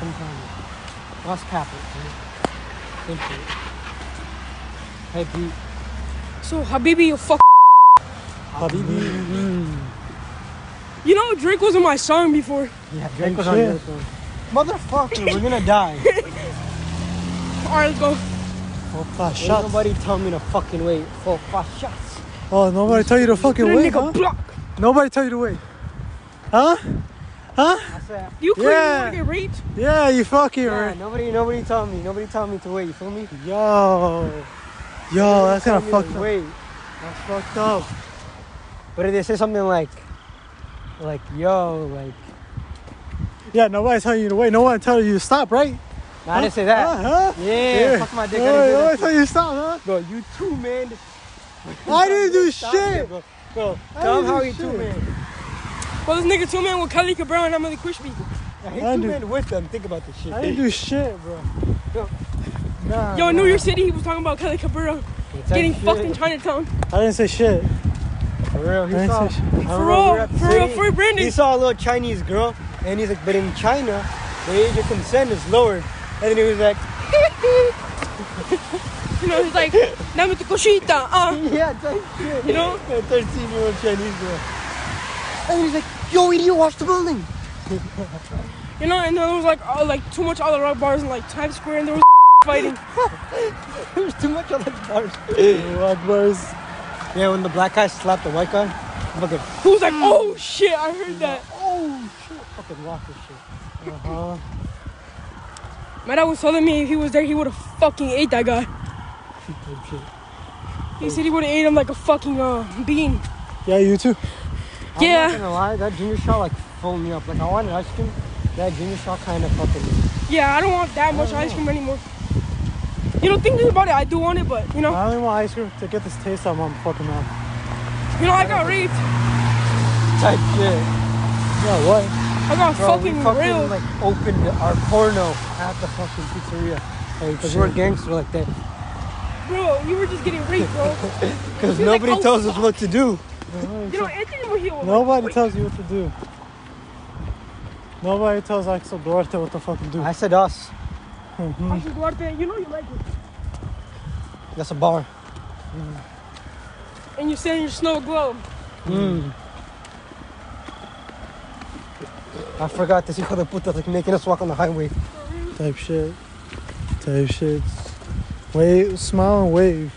[SPEAKER 5] Sometimes. Lost capital. Thank you. Hey, Pete.
[SPEAKER 2] So Habibi, you fuck.
[SPEAKER 4] Habibi.
[SPEAKER 2] You know, Drake was in my song before.
[SPEAKER 4] Yeah,
[SPEAKER 5] Drake was on
[SPEAKER 4] shit.
[SPEAKER 5] your song.
[SPEAKER 4] Motherfucker, we're gonna die.
[SPEAKER 2] All right, let's go.
[SPEAKER 4] Four five
[SPEAKER 5] Ain't
[SPEAKER 4] shots.
[SPEAKER 5] nobody tell me to fucking wait for five shots.
[SPEAKER 4] Oh, nobody tell you to fucking
[SPEAKER 2] That
[SPEAKER 4] wait,
[SPEAKER 2] nigga
[SPEAKER 4] huh?
[SPEAKER 2] block.
[SPEAKER 4] Nobody tell you to wait. Huh?
[SPEAKER 5] I said,
[SPEAKER 2] You crazy?
[SPEAKER 4] Yeah.
[SPEAKER 2] You wanna get raped?
[SPEAKER 4] Yeah, you fucking
[SPEAKER 5] yeah,
[SPEAKER 4] right.
[SPEAKER 5] nobody, nobody tell me. Nobody tell me to wait. You feel me?
[SPEAKER 4] Yo. Yo, Oh, that's
[SPEAKER 5] Tell
[SPEAKER 4] gonna
[SPEAKER 5] me
[SPEAKER 4] fuck
[SPEAKER 5] to
[SPEAKER 4] up.
[SPEAKER 5] Wait.
[SPEAKER 4] That's fucked up.
[SPEAKER 5] But if they say something like, like, yo, like,
[SPEAKER 4] Yeah, nobody telling you to wait. Nobody telling you to stop, right?
[SPEAKER 5] nah, I didn't say that.
[SPEAKER 4] Huh? Huh?
[SPEAKER 5] Yeah, fuck my dick. I
[SPEAKER 4] Nobody,
[SPEAKER 5] didn't
[SPEAKER 4] nobody
[SPEAKER 5] do that shit.
[SPEAKER 4] telling you to stop,
[SPEAKER 5] Bro, you too, man.
[SPEAKER 4] huh? I didn't do
[SPEAKER 5] Stop
[SPEAKER 4] shit.
[SPEAKER 5] it, Bro, bro
[SPEAKER 4] I
[SPEAKER 5] tell him
[SPEAKER 4] didn't
[SPEAKER 5] how
[SPEAKER 4] do
[SPEAKER 5] he too,
[SPEAKER 4] shit.
[SPEAKER 5] man.
[SPEAKER 2] Well, this nigga two man with Kelly Cabral and Emily Crispy.
[SPEAKER 5] Yeah, he
[SPEAKER 4] I
[SPEAKER 5] too,
[SPEAKER 4] do-
[SPEAKER 5] man, with them. Think about this shit.
[SPEAKER 4] I didn't do shit, bro.
[SPEAKER 5] Yo.
[SPEAKER 4] Nah.
[SPEAKER 2] Yo, in
[SPEAKER 4] nah.
[SPEAKER 2] New York City, he was talking about Kelly Cabral
[SPEAKER 5] It's
[SPEAKER 2] getting
[SPEAKER 5] like,
[SPEAKER 2] fucked in
[SPEAKER 5] shit.
[SPEAKER 2] Chinatown. <laughs>
[SPEAKER 4] I didn't say shit.
[SPEAKER 5] For real, he
[SPEAKER 4] I didn't
[SPEAKER 5] saw.
[SPEAKER 4] say shit.
[SPEAKER 5] I remember we
[SPEAKER 2] For
[SPEAKER 5] were
[SPEAKER 2] real,
[SPEAKER 5] at the
[SPEAKER 2] for real,
[SPEAKER 5] city.
[SPEAKER 2] free
[SPEAKER 5] He
[SPEAKER 2] Brandy.
[SPEAKER 5] saw a little Chinese girl, and he's like, but in China, the age of consent is lower. And then he was like, <laughs>
[SPEAKER 2] You know, he's like, Name tu kushita, uh.
[SPEAKER 5] yeah, type shit.
[SPEAKER 2] You know?
[SPEAKER 5] A 13 year old Chinese girl. And then he's like, yo, idiot, watch the building.
[SPEAKER 2] You know, and then there was like, uh, like too much other rock bars in like Times Square, and there was <laughs> fighting.
[SPEAKER 5] <laughs> There's too much on that bars.
[SPEAKER 4] Rock bars.
[SPEAKER 5] Yeah, when the black guy slapped the white guy, fucking,
[SPEAKER 2] Who was like, oh shit, I heard that.
[SPEAKER 5] oh shit, fucking lock this shit.
[SPEAKER 4] Uh-huh.
[SPEAKER 2] My dad was telling me if he was there, he would have fucking ate that guy.
[SPEAKER 5] Type shit.
[SPEAKER 2] He said he would have ate him like a fucking uh, bean.
[SPEAKER 4] Yeah, you too.
[SPEAKER 2] Yeah.
[SPEAKER 5] I'm not gonna lie, that junior shot like phoned me up. Like I wanted ice cream. That junior shot kind of fucking.
[SPEAKER 2] Yeah, I don't want that
[SPEAKER 5] Oh.
[SPEAKER 2] much ice cream anymore. You don't think about it. I do want it, but you know,
[SPEAKER 4] I only want ice cream to get this taste out of my fucking mouth.
[SPEAKER 2] you know, I got raped.
[SPEAKER 5] Type shit.
[SPEAKER 4] Yeah, what?
[SPEAKER 2] I got
[SPEAKER 5] Bro, we
[SPEAKER 2] fucking,
[SPEAKER 5] fucking
[SPEAKER 2] real.
[SPEAKER 5] like opened our porno at the fucking pizzeria. Like, cause we're gangster like that.
[SPEAKER 2] Bro, you were just getting raped, bro.
[SPEAKER 5] Cause
[SPEAKER 2] You're like,
[SPEAKER 5] nobody
[SPEAKER 2] "Oh,
[SPEAKER 5] tells us what to do.
[SPEAKER 2] you know, Anthony Mojito. was
[SPEAKER 4] Nobody
[SPEAKER 2] like,
[SPEAKER 4] tells you what to do. Nobody tells Axel Duarte what to fucking do.
[SPEAKER 5] I said us.
[SPEAKER 2] "Wait, I should go out there. You know you like it.
[SPEAKER 5] That's a bar.
[SPEAKER 2] And you sit in your snow globe.
[SPEAKER 5] I forgot this <laughs> hijo de puta's like making us walk on the highway.
[SPEAKER 4] Type shit. Type shit. Wave, smile and wave.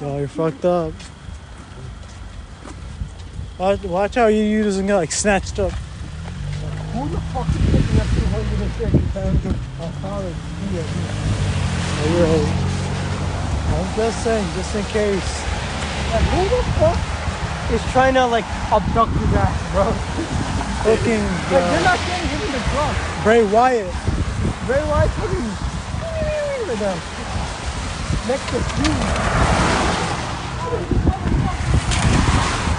[SPEAKER 4] Yo, you're fucked up. Watch, watch how you you doesn't get like snatched up.
[SPEAKER 5] Who the fuck is picking up 250 pounds of solid
[SPEAKER 4] Oh, you're old. I'm just saying, just in case.
[SPEAKER 5] Like, who the fuck is trying to like abduct you guys, bro?
[SPEAKER 4] Fucking
[SPEAKER 5] Like
[SPEAKER 4] uh,
[SPEAKER 5] they're not getting him in the truck.
[SPEAKER 4] Bray Wyatt.
[SPEAKER 5] Bray Wyatt fucking with them. Next to you.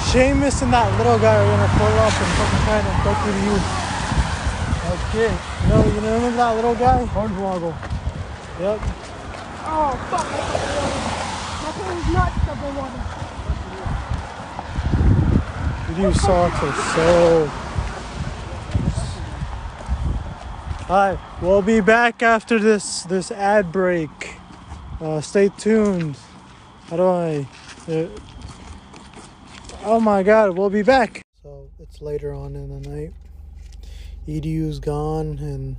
[SPEAKER 4] Seamus and that little guy are gonna pull up and fucking try to fuck with you.
[SPEAKER 5] Okay.
[SPEAKER 4] You know, you know, remember that little guy?
[SPEAKER 5] Hornswoggle.
[SPEAKER 4] Yep.
[SPEAKER 2] Oh fuck! My phone is not stuck on water.
[SPEAKER 4] You socks are so. Hi, we'll be back after this this ad break. Uh, stay tuned. How do I? uh, oh my God, we'll be back. So it's later on in the night. Edu's gone, and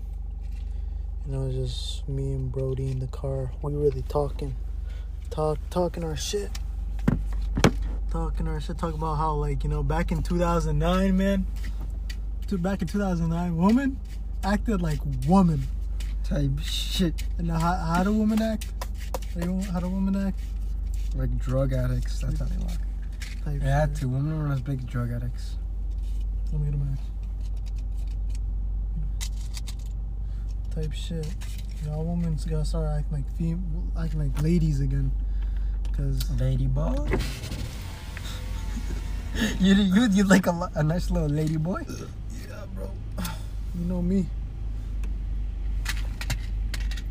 [SPEAKER 4] you know, just me and Brody in the car. We really talking, talk talking our shit talking or shit talk about how like you know back in 2009 man dude back in 2009 woman acted like woman
[SPEAKER 5] Type shit.
[SPEAKER 4] and now how, how do women act How do- how do women act
[SPEAKER 5] Like drug addicts. That's how they look.
[SPEAKER 4] type
[SPEAKER 5] Yeah,
[SPEAKER 4] shit.
[SPEAKER 5] to women were as big drug addicts.
[SPEAKER 4] let me get a match type shit you know women's gotta start acting like fem- acting like ladies again because
[SPEAKER 5] <laughs> Ladybug. you you you like a, li- a nice little lady boy? Yeah, bro.
[SPEAKER 4] you know me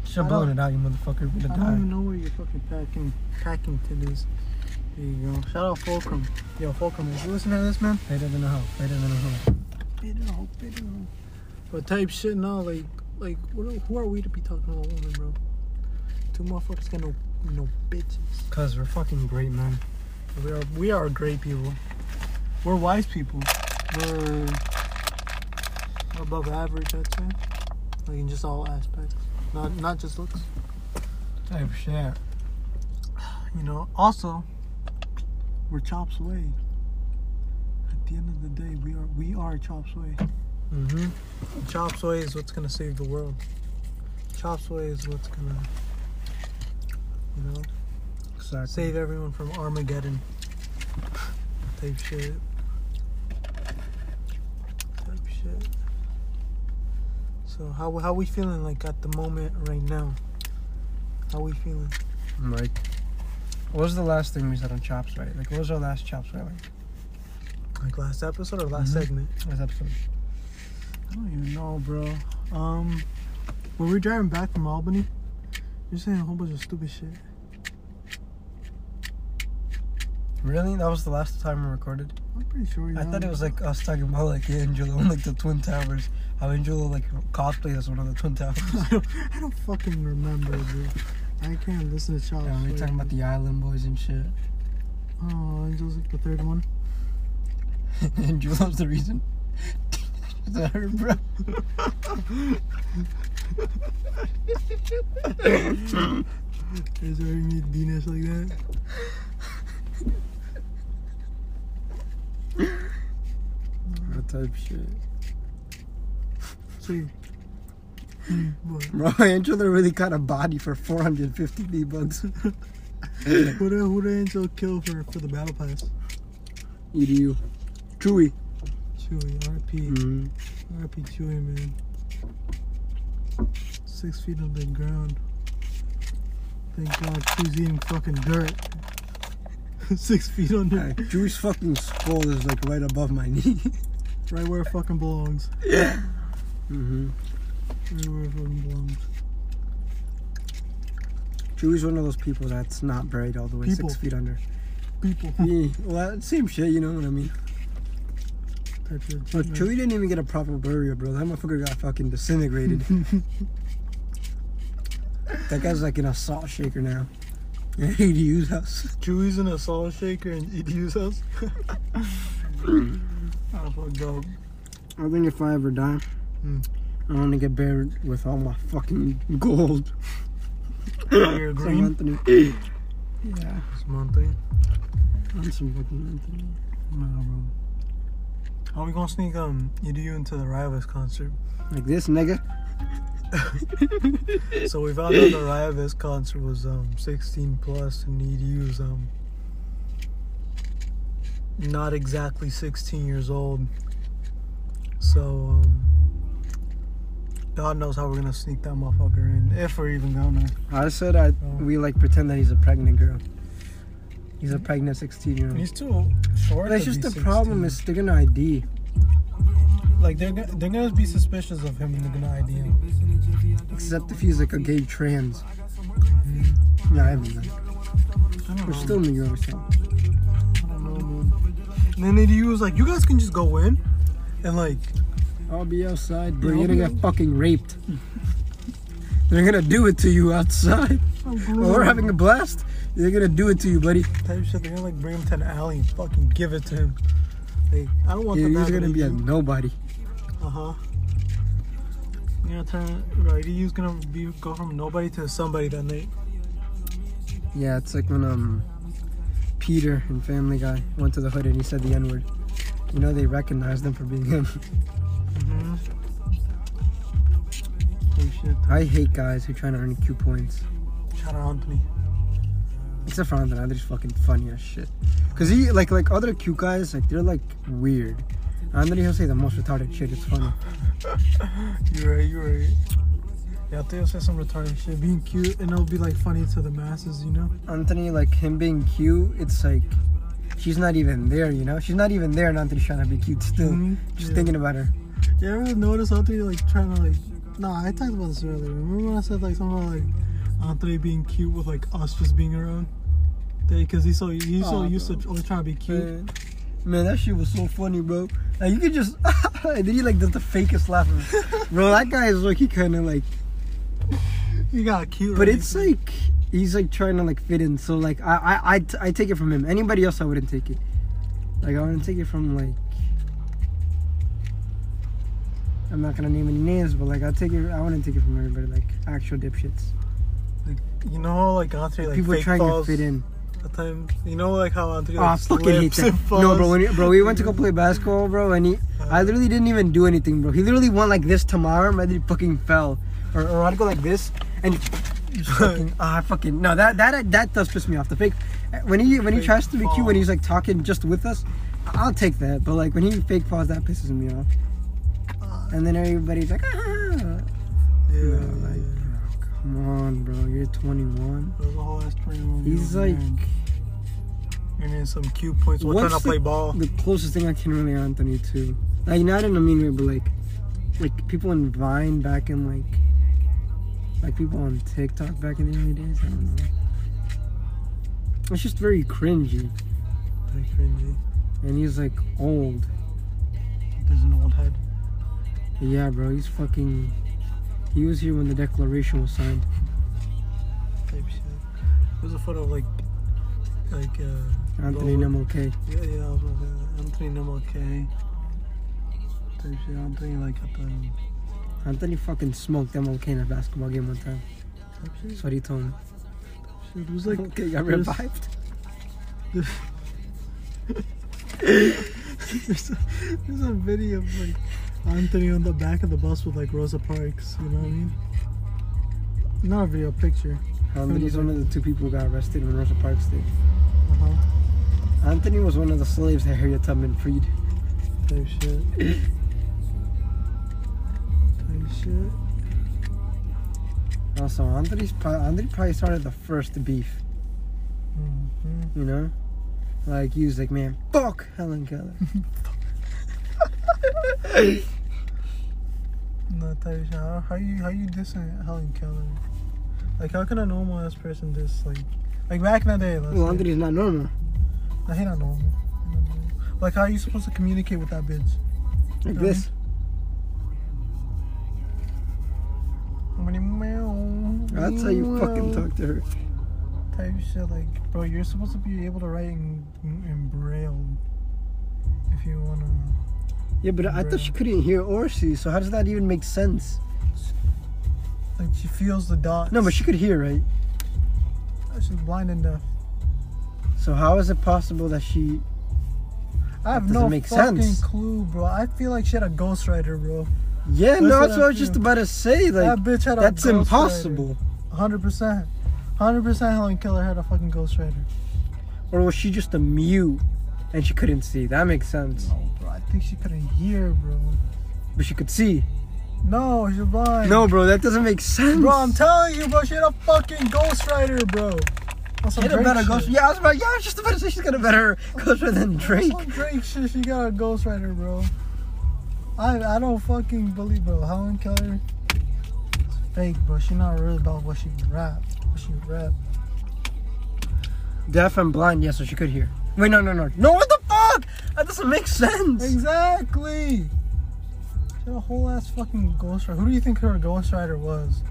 [SPEAKER 5] Shut
[SPEAKER 4] I don't-
[SPEAKER 5] blowing it out, you motherfucker. We're
[SPEAKER 4] I
[SPEAKER 5] gonna
[SPEAKER 4] don't
[SPEAKER 5] die.
[SPEAKER 4] even know where your fucking packing packing tin is. There you go. Shout out Fulcrum. Yo, Fulcrum, if you listen to this, man,
[SPEAKER 5] Better than a hoe. Better than a hoe.
[SPEAKER 4] better hope, better hope. But type shit now, like, like, what, who are we to be talking to a woman, bro? Two motherfuckers got no, no bitches.
[SPEAKER 5] Cause we're fucking great, man.
[SPEAKER 4] We are, we are great people. We're wise people. We're above average, I'd say. Like in just all aspects, not not just looks.
[SPEAKER 5] Type shit.
[SPEAKER 4] You know. Also, we're chops away. At the end of the day, we are we are chops away.
[SPEAKER 5] Mm-hmm.
[SPEAKER 4] Chops away is what's gonna save the world. Chops away is what's gonna, you know,
[SPEAKER 5] Exactly.
[SPEAKER 4] save everyone from Armageddon. Type shit. Type shit. So how how we feeling like at the moment right now? How we feeling?
[SPEAKER 5] I'm like, what was the last thing we said on Chops Right? Like, what was our last Chops Right? Like,
[SPEAKER 4] Like last episode or last
[SPEAKER 5] Mhm.
[SPEAKER 4] segment?
[SPEAKER 5] last episode?
[SPEAKER 4] Mm-hmm. I don't even know, bro. Um, when we were driving back from Albany, you're saying a whole bunch of stupid shit.
[SPEAKER 5] Really? That was the last time we recorded?
[SPEAKER 4] I'm pretty sure. you
[SPEAKER 5] I thought
[SPEAKER 4] know.
[SPEAKER 5] it was like us talking about like Angelo and like the Twin Towers. How Angelo like cosplayed as one of the Twin <laughs> Towers.
[SPEAKER 4] I don't, <laughs> I don't fucking remember, bro. I can't listen to Chops.
[SPEAKER 5] yeah, we were talking about the Island Boys and shit. <laughs>
[SPEAKER 4] Oh, Angel's like the third one.
[SPEAKER 5] Angelo's the reason. <laughs> that hurt, bro.
[SPEAKER 4] Is there any Dinas like that?
[SPEAKER 5] That type shit.
[SPEAKER 4] See. Hmm, what?
[SPEAKER 5] Bro, <laughs> Angelo really caught a body for 450 V bucks. <laughs>
[SPEAKER 4] Who did, who did Angel kill for, for the battle pass?
[SPEAKER 5] EDU. Chewy.
[SPEAKER 4] Chewy, RP.
[SPEAKER 5] Mm-hmm.
[SPEAKER 4] RP Chewy, man. Six feet on the ground. Thank God Chew's eating fucking dirt. <laughs> Six feet under,
[SPEAKER 5] Chewy's fucking skull is like right above my <laughs> knee.
[SPEAKER 4] right where it fucking belongs.
[SPEAKER 5] mm-hmm.
[SPEAKER 4] Right where it fucking belongs.
[SPEAKER 5] Chewy's one of those people that's not buried all the way
[SPEAKER 4] People.
[SPEAKER 5] six feet under.
[SPEAKER 4] People.
[SPEAKER 5] yeah, well, that- same shit, you know what I mean?
[SPEAKER 4] Type shit.
[SPEAKER 5] But Chewy didn't even get a proper burial, bro. That motherfucker got fucking
[SPEAKER 4] <laughs>
[SPEAKER 5] disintegrated. that guy's like in a salt shaker now. Yeah, <laughs> he use us.
[SPEAKER 4] Chewy's in a salt shaker and EDU's house. <laughs> That's fuck dope.
[SPEAKER 5] I think if I ever die,
[SPEAKER 4] Mm.
[SPEAKER 5] I want to get buried with all my fucking gold.
[SPEAKER 4] You're
[SPEAKER 5] Some
[SPEAKER 4] green.
[SPEAKER 5] <clears throat> Anthony. yeah,
[SPEAKER 4] Monthly.
[SPEAKER 5] I'm some fucking Anthony.
[SPEAKER 4] No, bro. How we gonna sneak um EDU into the Rivas concert?
[SPEAKER 5] Like this, nigga.
[SPEAKER 4] So we found out the Rivas concert was um 16 plus and EDU's um not exactly 16 years old. So um God knows how we're gonna sneak that motherfucker in, if we're even gonna.
[SPEAKER 5] I said I
[SPEAKER 4] Oh.
[SPEAKER 5] we like pretend that he's a pregnant girl. He's a pregnant 16 year old.
[SPEAKER 4] He's too short.
[SPEAKER 5] That's
[SPEAKER 4] to
[SPEAKER 5] just
[SPEAKER 4] be
[SPEAKER 5] the problem
[SPEAKER 4] 16.
[SPEAKER 5] is they're gonna ID.
[SPEAKER 4] like they're gonna, they're gonna be suspicious of him and they're gonna ID him.
[SPEAKER 5] Except if he's like a gay trans. Yeah, I haven't done.
[SPEAKER 4] I don't
[SPEAKER 5] We're
[SPEAKER 4] know.
[SPEAKER 5] still New York. So.
[SPEAKER 4] I don't know, man. And then they was like, you guys can just go in, and like
[SPEAKER 5] I'll be outside, bro.
[SPEAKER 4] Yeah, I'll
[SPEAKER 5] You're gonna
[SPEAKER 4] be
[SPEAKER 5] get fucking raped. they're gonna do it to you outside. <laughs> Well, we're having a blast. They're gonna do it to you, buddy.
[SPEAKER 4] type shit. They're gonna like bring him to an alley and fucking give it to him. Like I don't want
[SPEAKER 5] You're
[SPEAKER 4] that.
[SPEAKER 5] just gonna be a nobody.
[SPEAKER 4] Uh huh. You know, turn right. He's gonna be go from nobody to somebody that night.
[SPEAKER 5] Yeah, it's like when um Peter and Family Guy went to the hood and he said the N word. You know they recognized him for being <laughs> him.
[SPEAKER 4] Mm-hmm. Type shit.
[SPEAKER 5] I hate guys who try to earn Q points.
[SPEAKER 4] Shout out Anthony.
[SPEAKER 5] Except for Anthony, Anthony's fucking funny as shit. Cause he like like other Q guys like they're like weird. Anthony he'll say the most retarded shit. It's funny.
[SPEAKER 4] You're right, you're right. Yeah, Theo said some retarded shit. Being cute and it'll be like funny to the masses, you know?
[SPEAKER 5] Anthony like him being cute, it's like she's not even there. You know she's not even there, and Anthony's trying to be cute still.
[SPEAKER 4] Mhm.
[SPEAKER 5] Just
[SPEAKER 4] Yeah.
[SPEAKER 5] thinking about her.
[SPEAKER 4] You ever notice Anthony like trying to like? Nah, I talked about this earlier. Remember when I said like something about like Anthony being cute with like us just being around? Because he's so he's so
[SPEAKER 5] Aw,
[SPEAKER 4] used to only trying to be cute.
[SPEAKER 5] Man, man, that shit was so funny, bro. Like you could just <laughs> and then he like does the fakest laugh. bro, that guy is like he kind of like,
[SPEAKER 4] He got cute,
[SPEAKER 5] but
[SPEAKER 4] right?
[SPEAKER 5] it's like he's like trying to like fit in. So like I I I, t- I take it from him. Anybody else, I wouldn't take it. Like I want to take it from like. I'm not gonna name any names, but like I take it. I wouldn't take it from everybody, like actual dipshits.
[SPEAKER 4] You know how like Andre like
[SPEAKER 5] People
[SPEAKER 4] fake
[SPEAKER 5] trying
[SPEAKER 4] falls
[SPEAKER 5] to fit in.
[SPEAKER 4] at times. You know like how Andre
[SPEAKER 5] Oh, I
[SPEAKER 4] like,
[SPEAKER 5] fucking hate
[SPEAKER 4] slips
[SPEAKER 5] that.
[SPEAKER 4] and falls.
[SPEAKER 5] No, bro, when, he- bro, we
[SPEAKER 4] <laughs>
[SPEAKER 5] went to go play basketball, bro, and he, I literally didn't even do anything, bro. He literally went like this to my arm, and then he fucking fell, or, or I'd go like this, and he
[SPEAKER 4] <laughs>
[SPEAKER 5] just fucking, ah, fucking, no, that that that does piss me off. The fake, when he when he
[SPEAKER 4] Fake
[SPEAKER 5] tries to be cute
[SPEAKER 4] fall.
[SPEAKER 5] when he's like talking just with us, I'll take that, but like when he fake falls, that pisses me off. And then everybody's like, ah,
[SPEAKER 4] Yeah,
[SPEAKER 5] no,
[SPEAKER 4] yeah,
[SPEAKER 5] like,
[SPEAKER 4] yeah.
[SPEAKER 5] bro, come on, bro, you're 21.
[SPEAKER 4] There's a whole ass room.
[SPEAKER 5] He's like.
[SPEAKER 4] you're in some cute points while trying to
[SPEAKER 5] What's
[SPEAKER 4] play
[SPEAKER 5] the-
[SPEAKER 4] ball.
[SPEAKER 5] the closest thing I can really Anthony to. Like not in a mean way, but like like people in Vine back in like like people on TikTok back in the early days. I don't know. It's just very cringy.
[SPEAKER 4] Like, cringy.
[SPEAKER 5] And he's like old.
[SPEAKER 4] There's an old head.
[SPEAKER 5] Yeah, bro, he's fucking he was here when the declaration was signed.
[SPEAKER 4] type shit. There's a photo of like, like uh,
[SPEAKER 5] Anthony
[SPEAKER 4] Lola-
[SPEAKER 5] Nemelke.
[SPEAKER 4] Yeah, yeah, I was gonna say that. Anthony Nemelke. Type shit. Anthony like at the
[SPEAKER 5] Anthony fucking smoked MLK in a basketball game one time.
[SPEAKER 4] type shit.
[SPEAKER 5] That's what he told me.
[SPEAKER 4] It was like
[SPEAKER 5] MLK got
[SPEAKER 4] there's-
[SPEAKER 5] revived.
[SPEAKER 4] <laughs> There's a, there's a video of like Anthony on the back of the bus with like Rosa Parks. You know what I mean? Not a video, a picture.
[SPEAKER 5] <laughs> Anthony's one of the two people who got arrested when Rosa Parks did.
[SPEAKER 4] Uh huh.
[SPEAKER 5] Anthony was one of the slaves that Harriet Tubman freed.
[SPEAKER 4] Type shit. type shit.
[SPEAKER 5] Also, Anthony's pro- Anthony probably started the first beef,
[SPEAKER 4] hmm
[SPEAKER 5] you know? Like, he was like, man, fuck
[SPEAKER 4] <laughs>
[SPEAKER 5] Helen Keller.
[SPEAKER 4] No, Tyrese, how, how you how you dissing Helen Keller? Like, how can a normal ass person diss like, like back in the day? Let's
[SPEAKER 5] well,
[SPEAKER 4] say-
[SPEAKER 5] Anthony's not normal.
[SPEAKER 4] I hate not normal. Like, how are you supposed to communicate with that bitch?
[SPEAKER 5] Like
[SPEAKER 4] Mhm.
[SPEAKER 5] this. That's how you fucking talk to her.
[SPEAKER 4] Type shit, like, bro, you're supposed to be able to write in, in braille if you wanna.
[SPEAKER 5] Yeah, but I
[SPEAKER 4] Bruh.
[SPEAKER 5] thought she couldn't hear or see, so how does that even make sense?
[SPEAKER 4] Like, she feels the dots.
[SPEAKER 5] No, but she could hear, right?
[SPEAKER 4] she's blind and deaf.
[SPEAKER 5] So how is it possible that she.
[SPEAKER 4] I have
[SPEAKER 5] doesn't
[SPEAKER 4] no
[SPEAKER 5] make
[SPEAKER 4] fucking
[SPEAKER 5] sense.
[SPEAKER 4] clue, bro. I feel like she had a ghostwriter, bro.
[SPEAKER 5] Yeah,
[SPEAKER 4] That's
[SPEAKER 5] no,
[SPEAKER 4] what
[SPEAKER 5] that's what
[SPEAKER 4] I
[SPEAKER 5] I was just
[SPEAKER 4] feel.
[SPEAKER 5] about to say. Like,
[SPEAKER 4] that bitch had a
[SPEAKER 5] that's
[SPEAKER 4] ghostwriter.
[SPEAKER 5] impossible.
[SPEAKER 4] Hundred percent, hundred percent. Helen Keller had a fucking ghostwriter.
[SPEAKER 5] Or was she just a mute and she couldn't see? That makes sense.
[SPEAKER 4] No, Oh, bro. I think she couldn't hear, bro.
[SPEAKER 5] But she could see.
[SPEAKER 4] No, she's blind.
[SPEAKER 5] No, bro, that doesn't make sense.
[SPEAKER 4] bro. I'm telling you, bro. She had a fucking ghostwriter, bro. On some
[SPEAKER 5] She had a
[SPEAKER 4] Drake
[SPEAKER 5] better
[SPEAKER 4] shit.
[SPEAKER 5] ghost. Yeah, I was about. Yeah, I was just about to say she's got a better ghostwriter than Drake.
[SPEAKER 4] Some Drake shit. She got a ghostwriter, bro. I I don't fucking believe, bro. Helen Keller. It's fake, bro. She not real about what she rap. What she rap.
[SPEAKER 5] Deaf and blind. Yeah, so she could hear. Wait, no, no, no, no. What the fuck? That doesn't make sense.
[SPEAKER 4] Exactly. She had a whole ass fucking ghostwriter. Who do you think her ghostwriter was?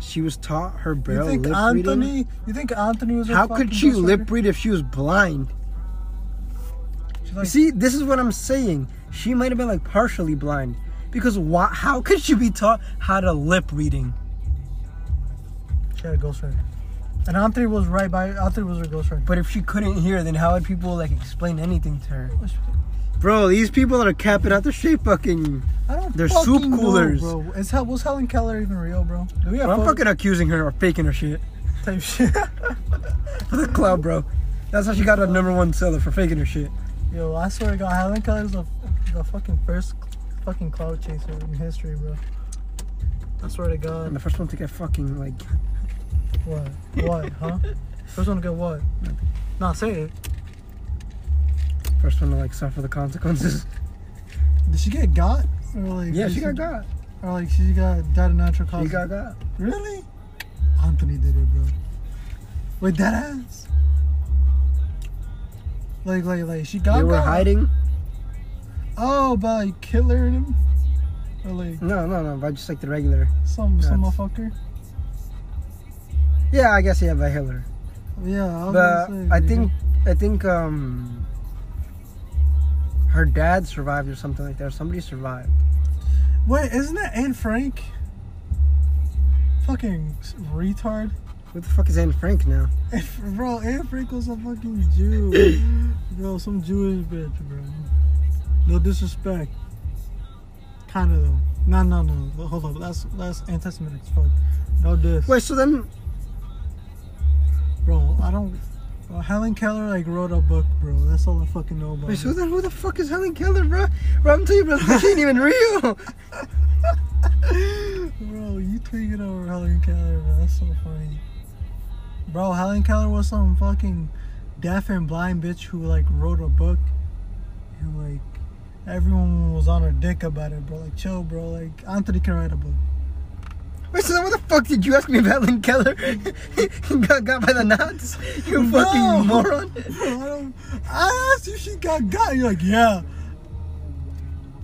[SPEAKER 5] She was taught her
[SPEAKER 4] You
[SPEAKER 5] braille
[SPEAKER 4] think
[SPEAKER 5] lip
[SPEAKER 4] Anthony?
[SPEAKER 5] reading.
[SPEAKER 4] You think Anthony was? her
[SPEAKER 5] How
[SPEAKER 4] fucking
[SPEAKER 5] could she
[SPEAKER 4] ghostwriter?
[SPEAKER 5] lip read if she was blind?
[SPEAKER 4] She's
[SPEAKER 5] You
[SPEAKER 4] like,
[SPEAKER 5] see, this is what I'm saying. She might have been like partially blind, because why, how could she be taught how to lip reading?
[SPEAKER 4] she had a ghostwriter, and Anthony was right by Anthony was her ghostwriter.
[SPEAKER 5] But if she couldn't hear, then how would people like explain anything to her? Bro, these people are capping out their shit fucking.
[SPEAKER 4] I don't.
[SPEAKER 5] They're
[SPEAKER 4] fucking
[SPEAKER 5] soup coolers.
[SPEAKER 4] know, bro. Is Hel- was Helen Keller even real, bro? Do we have
[SPEAKER 5] Bro, I'm
[SPEAKER 4] photo-
[SPEAKER 5] fucking accusing her or faking her shit
[SPEAKER 4] type <laughs> shit?
[SPEAKER 5] for the cloud, bro. That's how she got a number one seller for faking her shit.
[SPEAKER 4] Yo, I swear to God, Helen Keller's the, the fucking first fucking cloud chaser in history, bro. I swear to
[SPEAKER 5] I'm
[SPEAKER 4] God.
[SPEAKER 5] <laughs> the first one to get fucking like.
[SPEAKER 4] What? What? Huh? First one to get what? Nah, say it.
[SPEAKER 5] First one to like suffer the consequences.
[SPEAKER 4] Did she get got? Or like?
[SPEAKER 5] <laughs> Yeah,
[SPEAKER 4] did
[SPEAKER 5] she got got.
[SPEAKER 4] Or like she got died of natural causes.
[SPEAKER 5] She got got.
[SPEAKER 4] Really? Anthony did it, bro. With that ass. Like, like, like, she got.
[SPEAKER 5] They were
[SPEAKER 4] got-
[SPEAKER 5] hiding.
[SPEAKER 4] Oh, by like Hitler and him, or like
[SPEAKER 5] No, no, no. But just like the regular.
[SPEAKER 4] some some
[SPEAKER 5] Nuts.
[SPEAKER 4] motherfucker.
[SPEAKER 5] Yeah, I guess yeah, by Hitler.
[SPEAKER 4] Yeah, I was
[SPEAKER 5] But
[SPEAKER 4] gonna say,
[SPEAKER 5] I
[SPEAKER 4] like,
[SPEAKER 5] think I think um her dad survived or something like that. Or somebody survived.
[SPEAKER 4] Wait, isn't that Anne Frank? Fucking s- retard.
[SPEAKER 5] What the fuck is Anne Frank now?
[SPEAKER 4] Bro, Anne Frank was a fucking
[SPEAKER 5] <coughs>
[SPEAKER 4] Jew. bro, some Jewish bitch, bro. No disrespect. Kinda though. No, no, no. Hold up. That's that's anti-Semitic as fuck. No diss.
[SPEAKER 5] Wait, so then
[SPEAKER 4] Bro, I don't. Well, Helen Keller like wrote a book, bro. That's all I fucking know about.
[SPEAKER 5] wait, so
[SPEAKER 4] it.
[SPEAKER 5] then who the fuck is Helen Keller, bro? Bro, I'm telling you, bro, this ain't even real.
[SPEAKER 4] bro, you tweaking over Helen Keller, bro. That's so funny. Bro, Helen Keller was some fucking deaf and blind bitch who like wrote a book and like everyone was on her dick about it, bro. Like chill, bro. Like Anthony can write a book. <laughs>
[SPEAKER 5] Wait, so then what the fuck did you ask me about Helen Keller? <laughs> got got by the Nazis? You
[SPEAKER 4] No.
[SPEAKER 5] fucking moron.
[SPEAKER 4] Bro, I, don't, I asked you if she got got. You're like, yeah.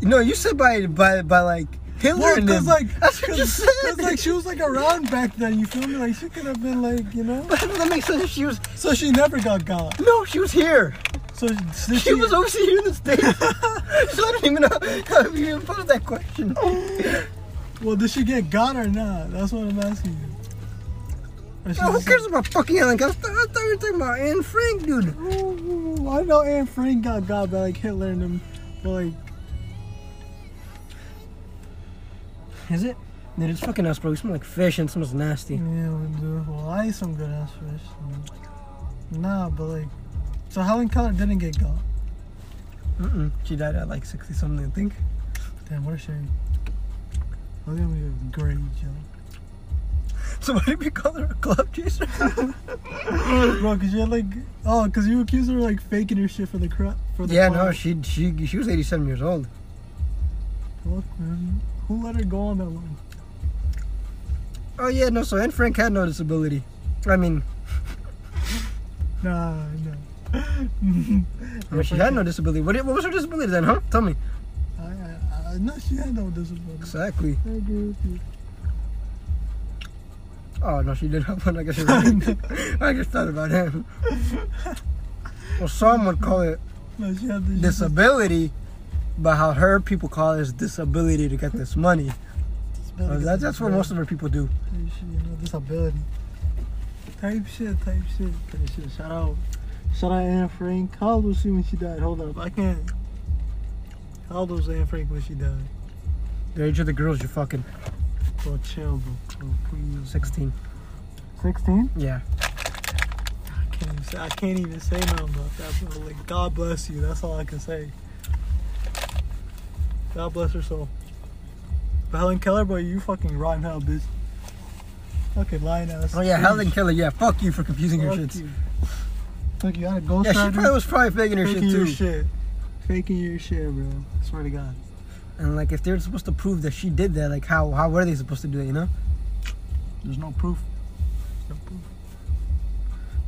[SPEAKER 5] No, you said by by by like Hitler
[SPEAKER 4] Well,
[SPEAKER 5] and them.
[SPEAKER 4] cause like,
[SPEAKER 5] That's what you
[SPEAKER 4] cause,
[SPEAKER 5] said.
[SPEAKER 4] 'cause,
[SPEAKER 5] <laughs>
[SPEAKER 4] like she was like around back then. You feel me? Like she could have been like, you know.
[SPEAKER 5] that makes sense. if She was
[SPEAKER 4] So she never got got.
[SPEAKER 5] no, she was here.
[SPEAKER 4] So did she,
[SPEAKER 5] She was over here
[SPEAKER 4] <laughs>
[SPEAKER 5] in the states. so I don't even know how you even posed
[SPEAKER 4] <laughs>
[SPEAKER 5] that question.
[SPEAKER 4] Well, did she get got or not? That's what I'm asking you. Or she
[SPEAKER 5] Yo, who
[SPEAKER 4] just-
[SPEAKER 5] cares about fucking Helen Keller? I thought I thought we were talking about Anne Frank, dude.
[SPEAKER 4] Ooh, I know Anne Frank got got by like Hitler and them, but like
[SPEAKER 5] Is it? Dude, it's fucking us, bro. We smell like fish and smells nasty.
[SPEAKER 4] yeah, we do. Well, I eat some good ass fish. so. Nah, but like, so Helen Keller didn't get got.
[SPEAKER 5] Mm-mm. She died at like 60 something, I think. <laughs>
[SPEAKER 4] Damn, what a shame. That's gonna be a great joke,
[SPEAKER 5] So why did we call her a club chaser?
[SPEAKER 4] bro. Cause you had like, oh, cause you accused her of like faking her shit for the crap. For the
[SPEAKER 5] <laughs> yeah,
[SPEAKER 4] part.
[SPEAKER 5] no, she she she was 87 years old.
[SPEAKER 4] Look, man, who let her go on that long?
[SPEAKER 5] Oh yeah, no. So Anne Frank had no disability. I mean,
[SPEAKER 4] Nah, no.
[SPEAKER 5] I mean, she had no disability. What, what was her disability then, huh? Tell me.
[SPEAKER 4] <laughs> I, I, I, no, she had no disability.
[SPEAKER 5] Exactly.
[SPEAKER 4] I agree with you.
[SPEAKER 5] Oh no, she did have one. I <laughs> guess she was. I just thought about <laughs> him. Well, some would call it
[SPEAKER 4] No, she had the,
[SPEAKER 5] disability, but how her people call it is disability to get this money. Uh,
[SPEAKER 4] disability.
[SPEAKER 5] that, that's what most of her people do.
[SPEAKER 4] Type shit, you know, disability. Type shit, type shit, type shit. Shout out, shout out Anne Frank. How old was she when she died? Hold up, I can't. How old was Anne Frank when she died?
[SPEAKER 5] The age of the girls you're fucking.
[SPEAKER 4] Bro, chill, bro. bro Oh, please.
[SPEAKER 5] 16.
[SPEAKER 4] 16?
[SPEAKER 5] Yeah.
[SPEAKER 4] I can't even say, I can't even say nothing about that, bro. Like, God bless you. That's all I can say. God bless her soul. But Helen Keller, bro, you fucking rotten hell, bitch. Fucking lying ass.
[SPEAKER 5] Oh yeah,
[SPEAKER 4] bitch.
[SPEAKER 5] Helen Keller. Yeah, fuck you for confusing your
[SPEAKER 4] Fuck
[SPEAKER 5] shits.
[SPEAKER 4] you. Look, you got a ghost
[SPEAKER 5] Yeah, she probably was probably faking her shit
[SPEAKER 4] faking your
[SPEAKER 5] too.
[SPEAKER 4] shit. Faking your shit, bro. Swear to God.
[SPEAKER 5] And like, if they're supposed to prove that she did that, like, how how were they supposed to do that? You know?
[SPEAKER 4] There's no proof. No proof.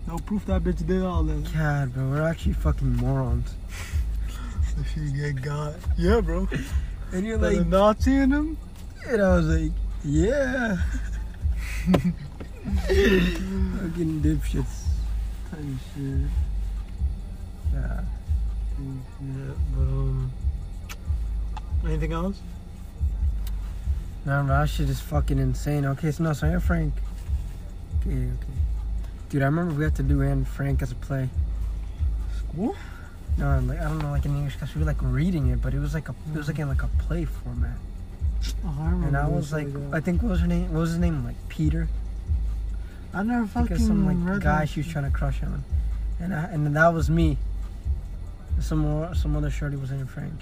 [SPEAKER 4] No proof that bitch did all this.
[SPEAKER 5] God, bro, we're actually fucking morons.
[SPEAKER 4] If you get got. Yeah, bro.
[SPEAKER 5] And you're
[SPEAKER 4] Like, the
[SPEAKER 5] like,
[SPEAKER 4] Nazi in him?
[SPEAKER 5] and I was like, yeah. fucking dipshits.
[SPEAKER 4] Type shit.
[SPEAKER 5] Yeah.
[SPEAKER 4] Yeah, but um, anything else?
[SPEAKER 5] Nah, bro, that shit is fucking insane. Okay, so no, so Anne Frank. Okay, okay. Dude, I remember we had to do Anne Frank as a play.
[SPEAKER 4] School?
[SPEAKER 5] No, like I don't know, like in English class, we were like reading it, but it was like a, it was like in like a play format.
[SPEAKER 4] Oh, I remember.
[SPEAKER 5] And I was like, I think what was her name? What was his name? Like Peter.
[SPEAKER 4] I never fucking
[SPEAKER 5] because some
[SPEAKER 4] read
[SPEAKER 5] like guy
[SPEAKER 4] that
[SPEAKER 5] she was
[SPEAKER 4] shit.
[SPEAKER 5] trying to crush on, and I, and that was me. Some more, some other shorty was in Frank.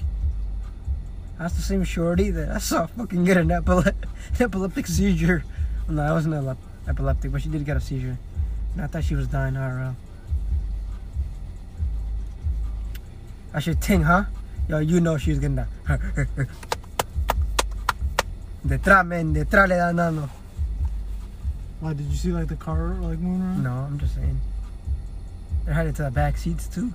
[SPEAKER 5] That's the same shorty that I saw fucking get an epile- <laughs> epileptic seizure. Well, no, I wasn't elep- epileptic, but she did get a seizure, and I thought she was dying IRL. I should think, huh? Yo, you know she was getting that. <laughs> Detrás, men, detrás le dan dando.
[SPEAKER 4] Why did you see like the car like moving around?
[SPEAKER 5] No, I'm just saying. They're headed to the back seats too.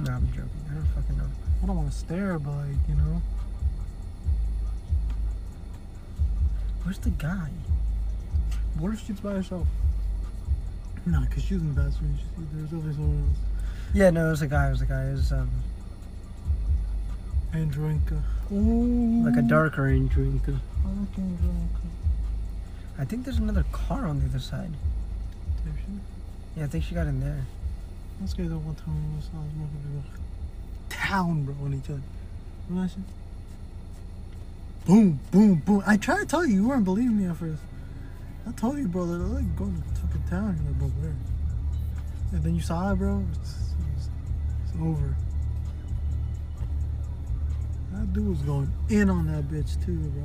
[SPEAKER 5] No, I'm joking. I don't fucking know.
[SPEAKER 4] I don't want to stare, but like you know,
[SPEAKER 5] Where's the guy?
[SPEAKER 4] what if she's by herself? No, because she was in the bathroom. She, there was always someone else.
[SPEAKER 5] Yeah, no, it was a guy. It was a guy. It was um,
[SPEAKER 4] Androinka.
[SPEAKER 5] like a dark orange drinker.
[SPEAKER 4] I like Androinka.
[SPEAKER 5] I think there's another car on the other side.
[SPEAKER 4] Type shit.
[SPEAKER 5] Yeah, I think she got in there.
[SPEAKER 4] Let's go there one time when we saw this motherfucker go town, bro, on each other. Remember that shit? Boom, boom, boom. I tried to tell you, you weren't believing me at first. I told you, bro, that I like going to fucking town. You're like, bro, where? And then you saw it, bro. It's, it's, it's over. That dude was going in on that bitch, too, bro.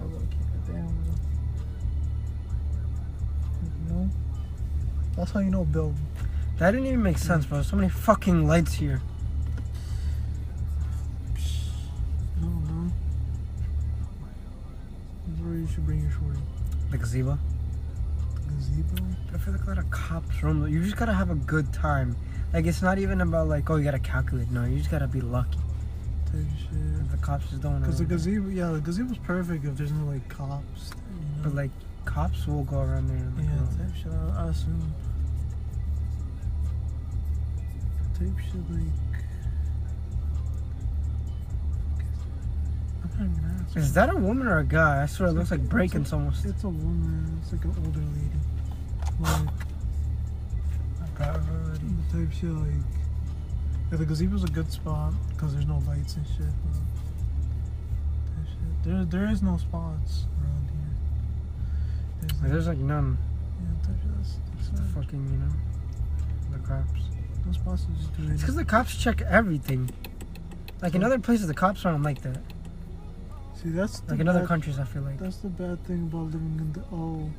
[SPEAKER 4] I was like, God damn, bro. You know? That's how you know Bill
[SPEAKER 5] That didn't even make sense, bro. So many fucking lights here.
[SPEAKER 4] I don't know. That's where you should bring your shorty.
[SPEAKER 5] The gazebo.
[SPEAKER 4] Gazebo?
[SPEAKER 5] I feel like a lot of cops roam. though. You just gotta have a good time. Like it's not even about like oh you gotta calculate. No, you just gotta be lucky.
[SPEAKER 4] Type shit.
[SPEAKER 5] If the cops just don't.
[SPEAKER 4] Cause the
[SPEAKER 5] know.
[SPEAKER 4] gazebo, yeah, the gazebo's perfect if there's no like cops. You know?
[SPEAKER 5] But like cops will go around there. And, like, uh,
[SPEAKER 4] yeah,
[SPEAKER 5] roam.
[SPEAKER 4] type shit. I, I assume. Type shit like. I'm not even asking.
[SPEAKER 5] Is that a woman or a guy? I swear it looks like Breakins almost.
[SPEAKER 4] It's a woman. It's like an older lady. Like type shit like. Yeah, the gazebo's a good spot because there's no lights and shit. But that shit. There, there is no spots around here. There's,
[SPEAKER 5] Like, There's like none.
[SPEAKER 4] yeah, type shit. That's, that's
[SPEAKER 5] The
[SPEAKER 4] not-
[SPEAKER 5] fucking you know, the cops.
[SPEAKER 4] no spots to
[SPEAKER 5] <laughs>
[SPEAKER 4] just do
[SPEAKER 5] It's because
[SPEAKER 4] it.
[SPEAKER 5] the cops check everything. Like in other places, the cops aren't like that.
[SPEAKER 4] See, that's the
[SPEAKER 5] Like in other
[SPEAKER 4] bad-
[SPEAKER 5] countries, I feel like.
[SPEAKER 4] That's the bad thing about living in the oh.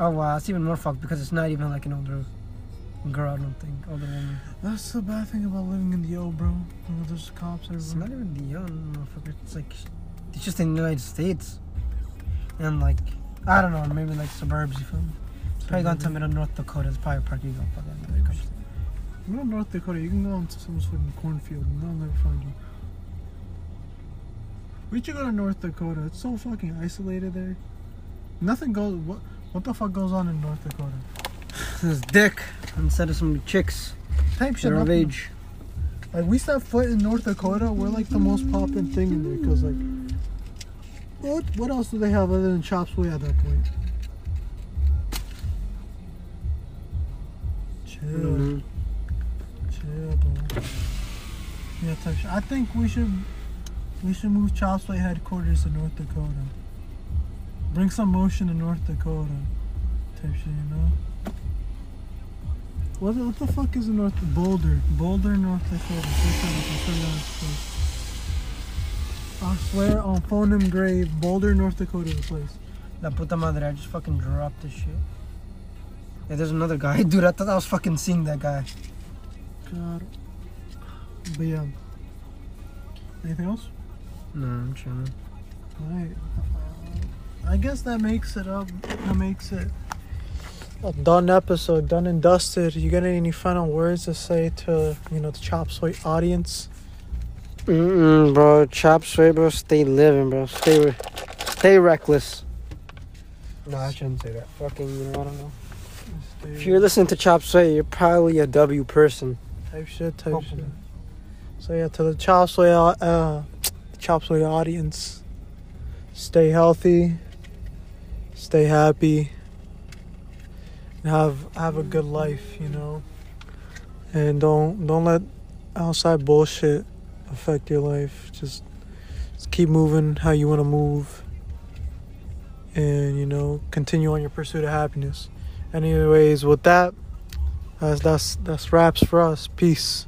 [SPEAKER 5] Oh wow, it's even more fucked because it's not even like an older girl. I don't think older woman.
[SPEAKER 4] That's the bad thing about living in the oh, bro. You know, there's cops
[SPEAKER 5] It's not
[SPEAKER 4] everywhere.
[SPEAKER 5] even the young motherfucker. It's like it's just in the United States, and like I don't know, maybe like suburbs. You feel me? Probably gone to middle North Dakota. It's probably park you go fucking.
[SPEAKER 4] Type shit. You know, North Dakota, you can go into someone's fucking cornfield and they'll never find you. We should go to North Dakota. It's so fucking isolated there. Nothing goes. What what the fuck goes on in North Dakota?
[SPEAKER 5] This dick instead of some chicks.
[SPEAKER 4] Type shit.
[SPEAKER 5] They're of
[SPEAKER 4] nothing.
[SPEAKER 5] age.
[SPEAKER 4] Like we set foot in North Dakota, we're like the most poppin' thing in there. Cause like, what what else do they have other than Chops Way at that point? Chill,
[SPEAKER 5] Mhm.
[SPEAKER 4] chill, bro. Yeah, type shit. I think we should we should move Chops Way headquarters to North Dakota. Bring some motion to North Dakota. Type shit, you know. What the, what the fuck is in North Boulder? Boulder, North Dakota. Search it up, I'm sure that's the place. I swear on Phoneham Grave, Boulder, North Dakota is the place.
[SPEAKER 5] La puta madre, I just fucking dropped this shit. Yeah, there's another guy. <laughs> Dude, I thought I was fucking seeing that guy.
[SPEAKER 4] God. But yeah. Anything else?
[SPEAKER 5] No, I'm chilling.
[SPEAKER 4] Alright. I guess that makes it up. That makes it a done episode, done and dusted. You got any final words to say to you know the Chop Soy audience?
[SPEAKER 6] Mm-mm, bro. Chop suey, bro. Stay living, bro. Stay, re- stay reckless. No, I shouldn't say that. Fucking, you know, I don't know. If you're listening to Chop suey, you're probably a W person.
[SPEAKER 4] Type shit, type
[SPEAKER 6] Hopefully.
[SPEAKER 4] shit. So yeah, to the chop soy, au- uh, the chop soy audience, stay healthy, stay happy, and have have a good life, you know. And don't don't let outside bullshit affect your life. Just just keep moving how you want to move, and you know continue on your pursuit of happiness. Anyways, with that. That's that's that's wraps for us. Peace.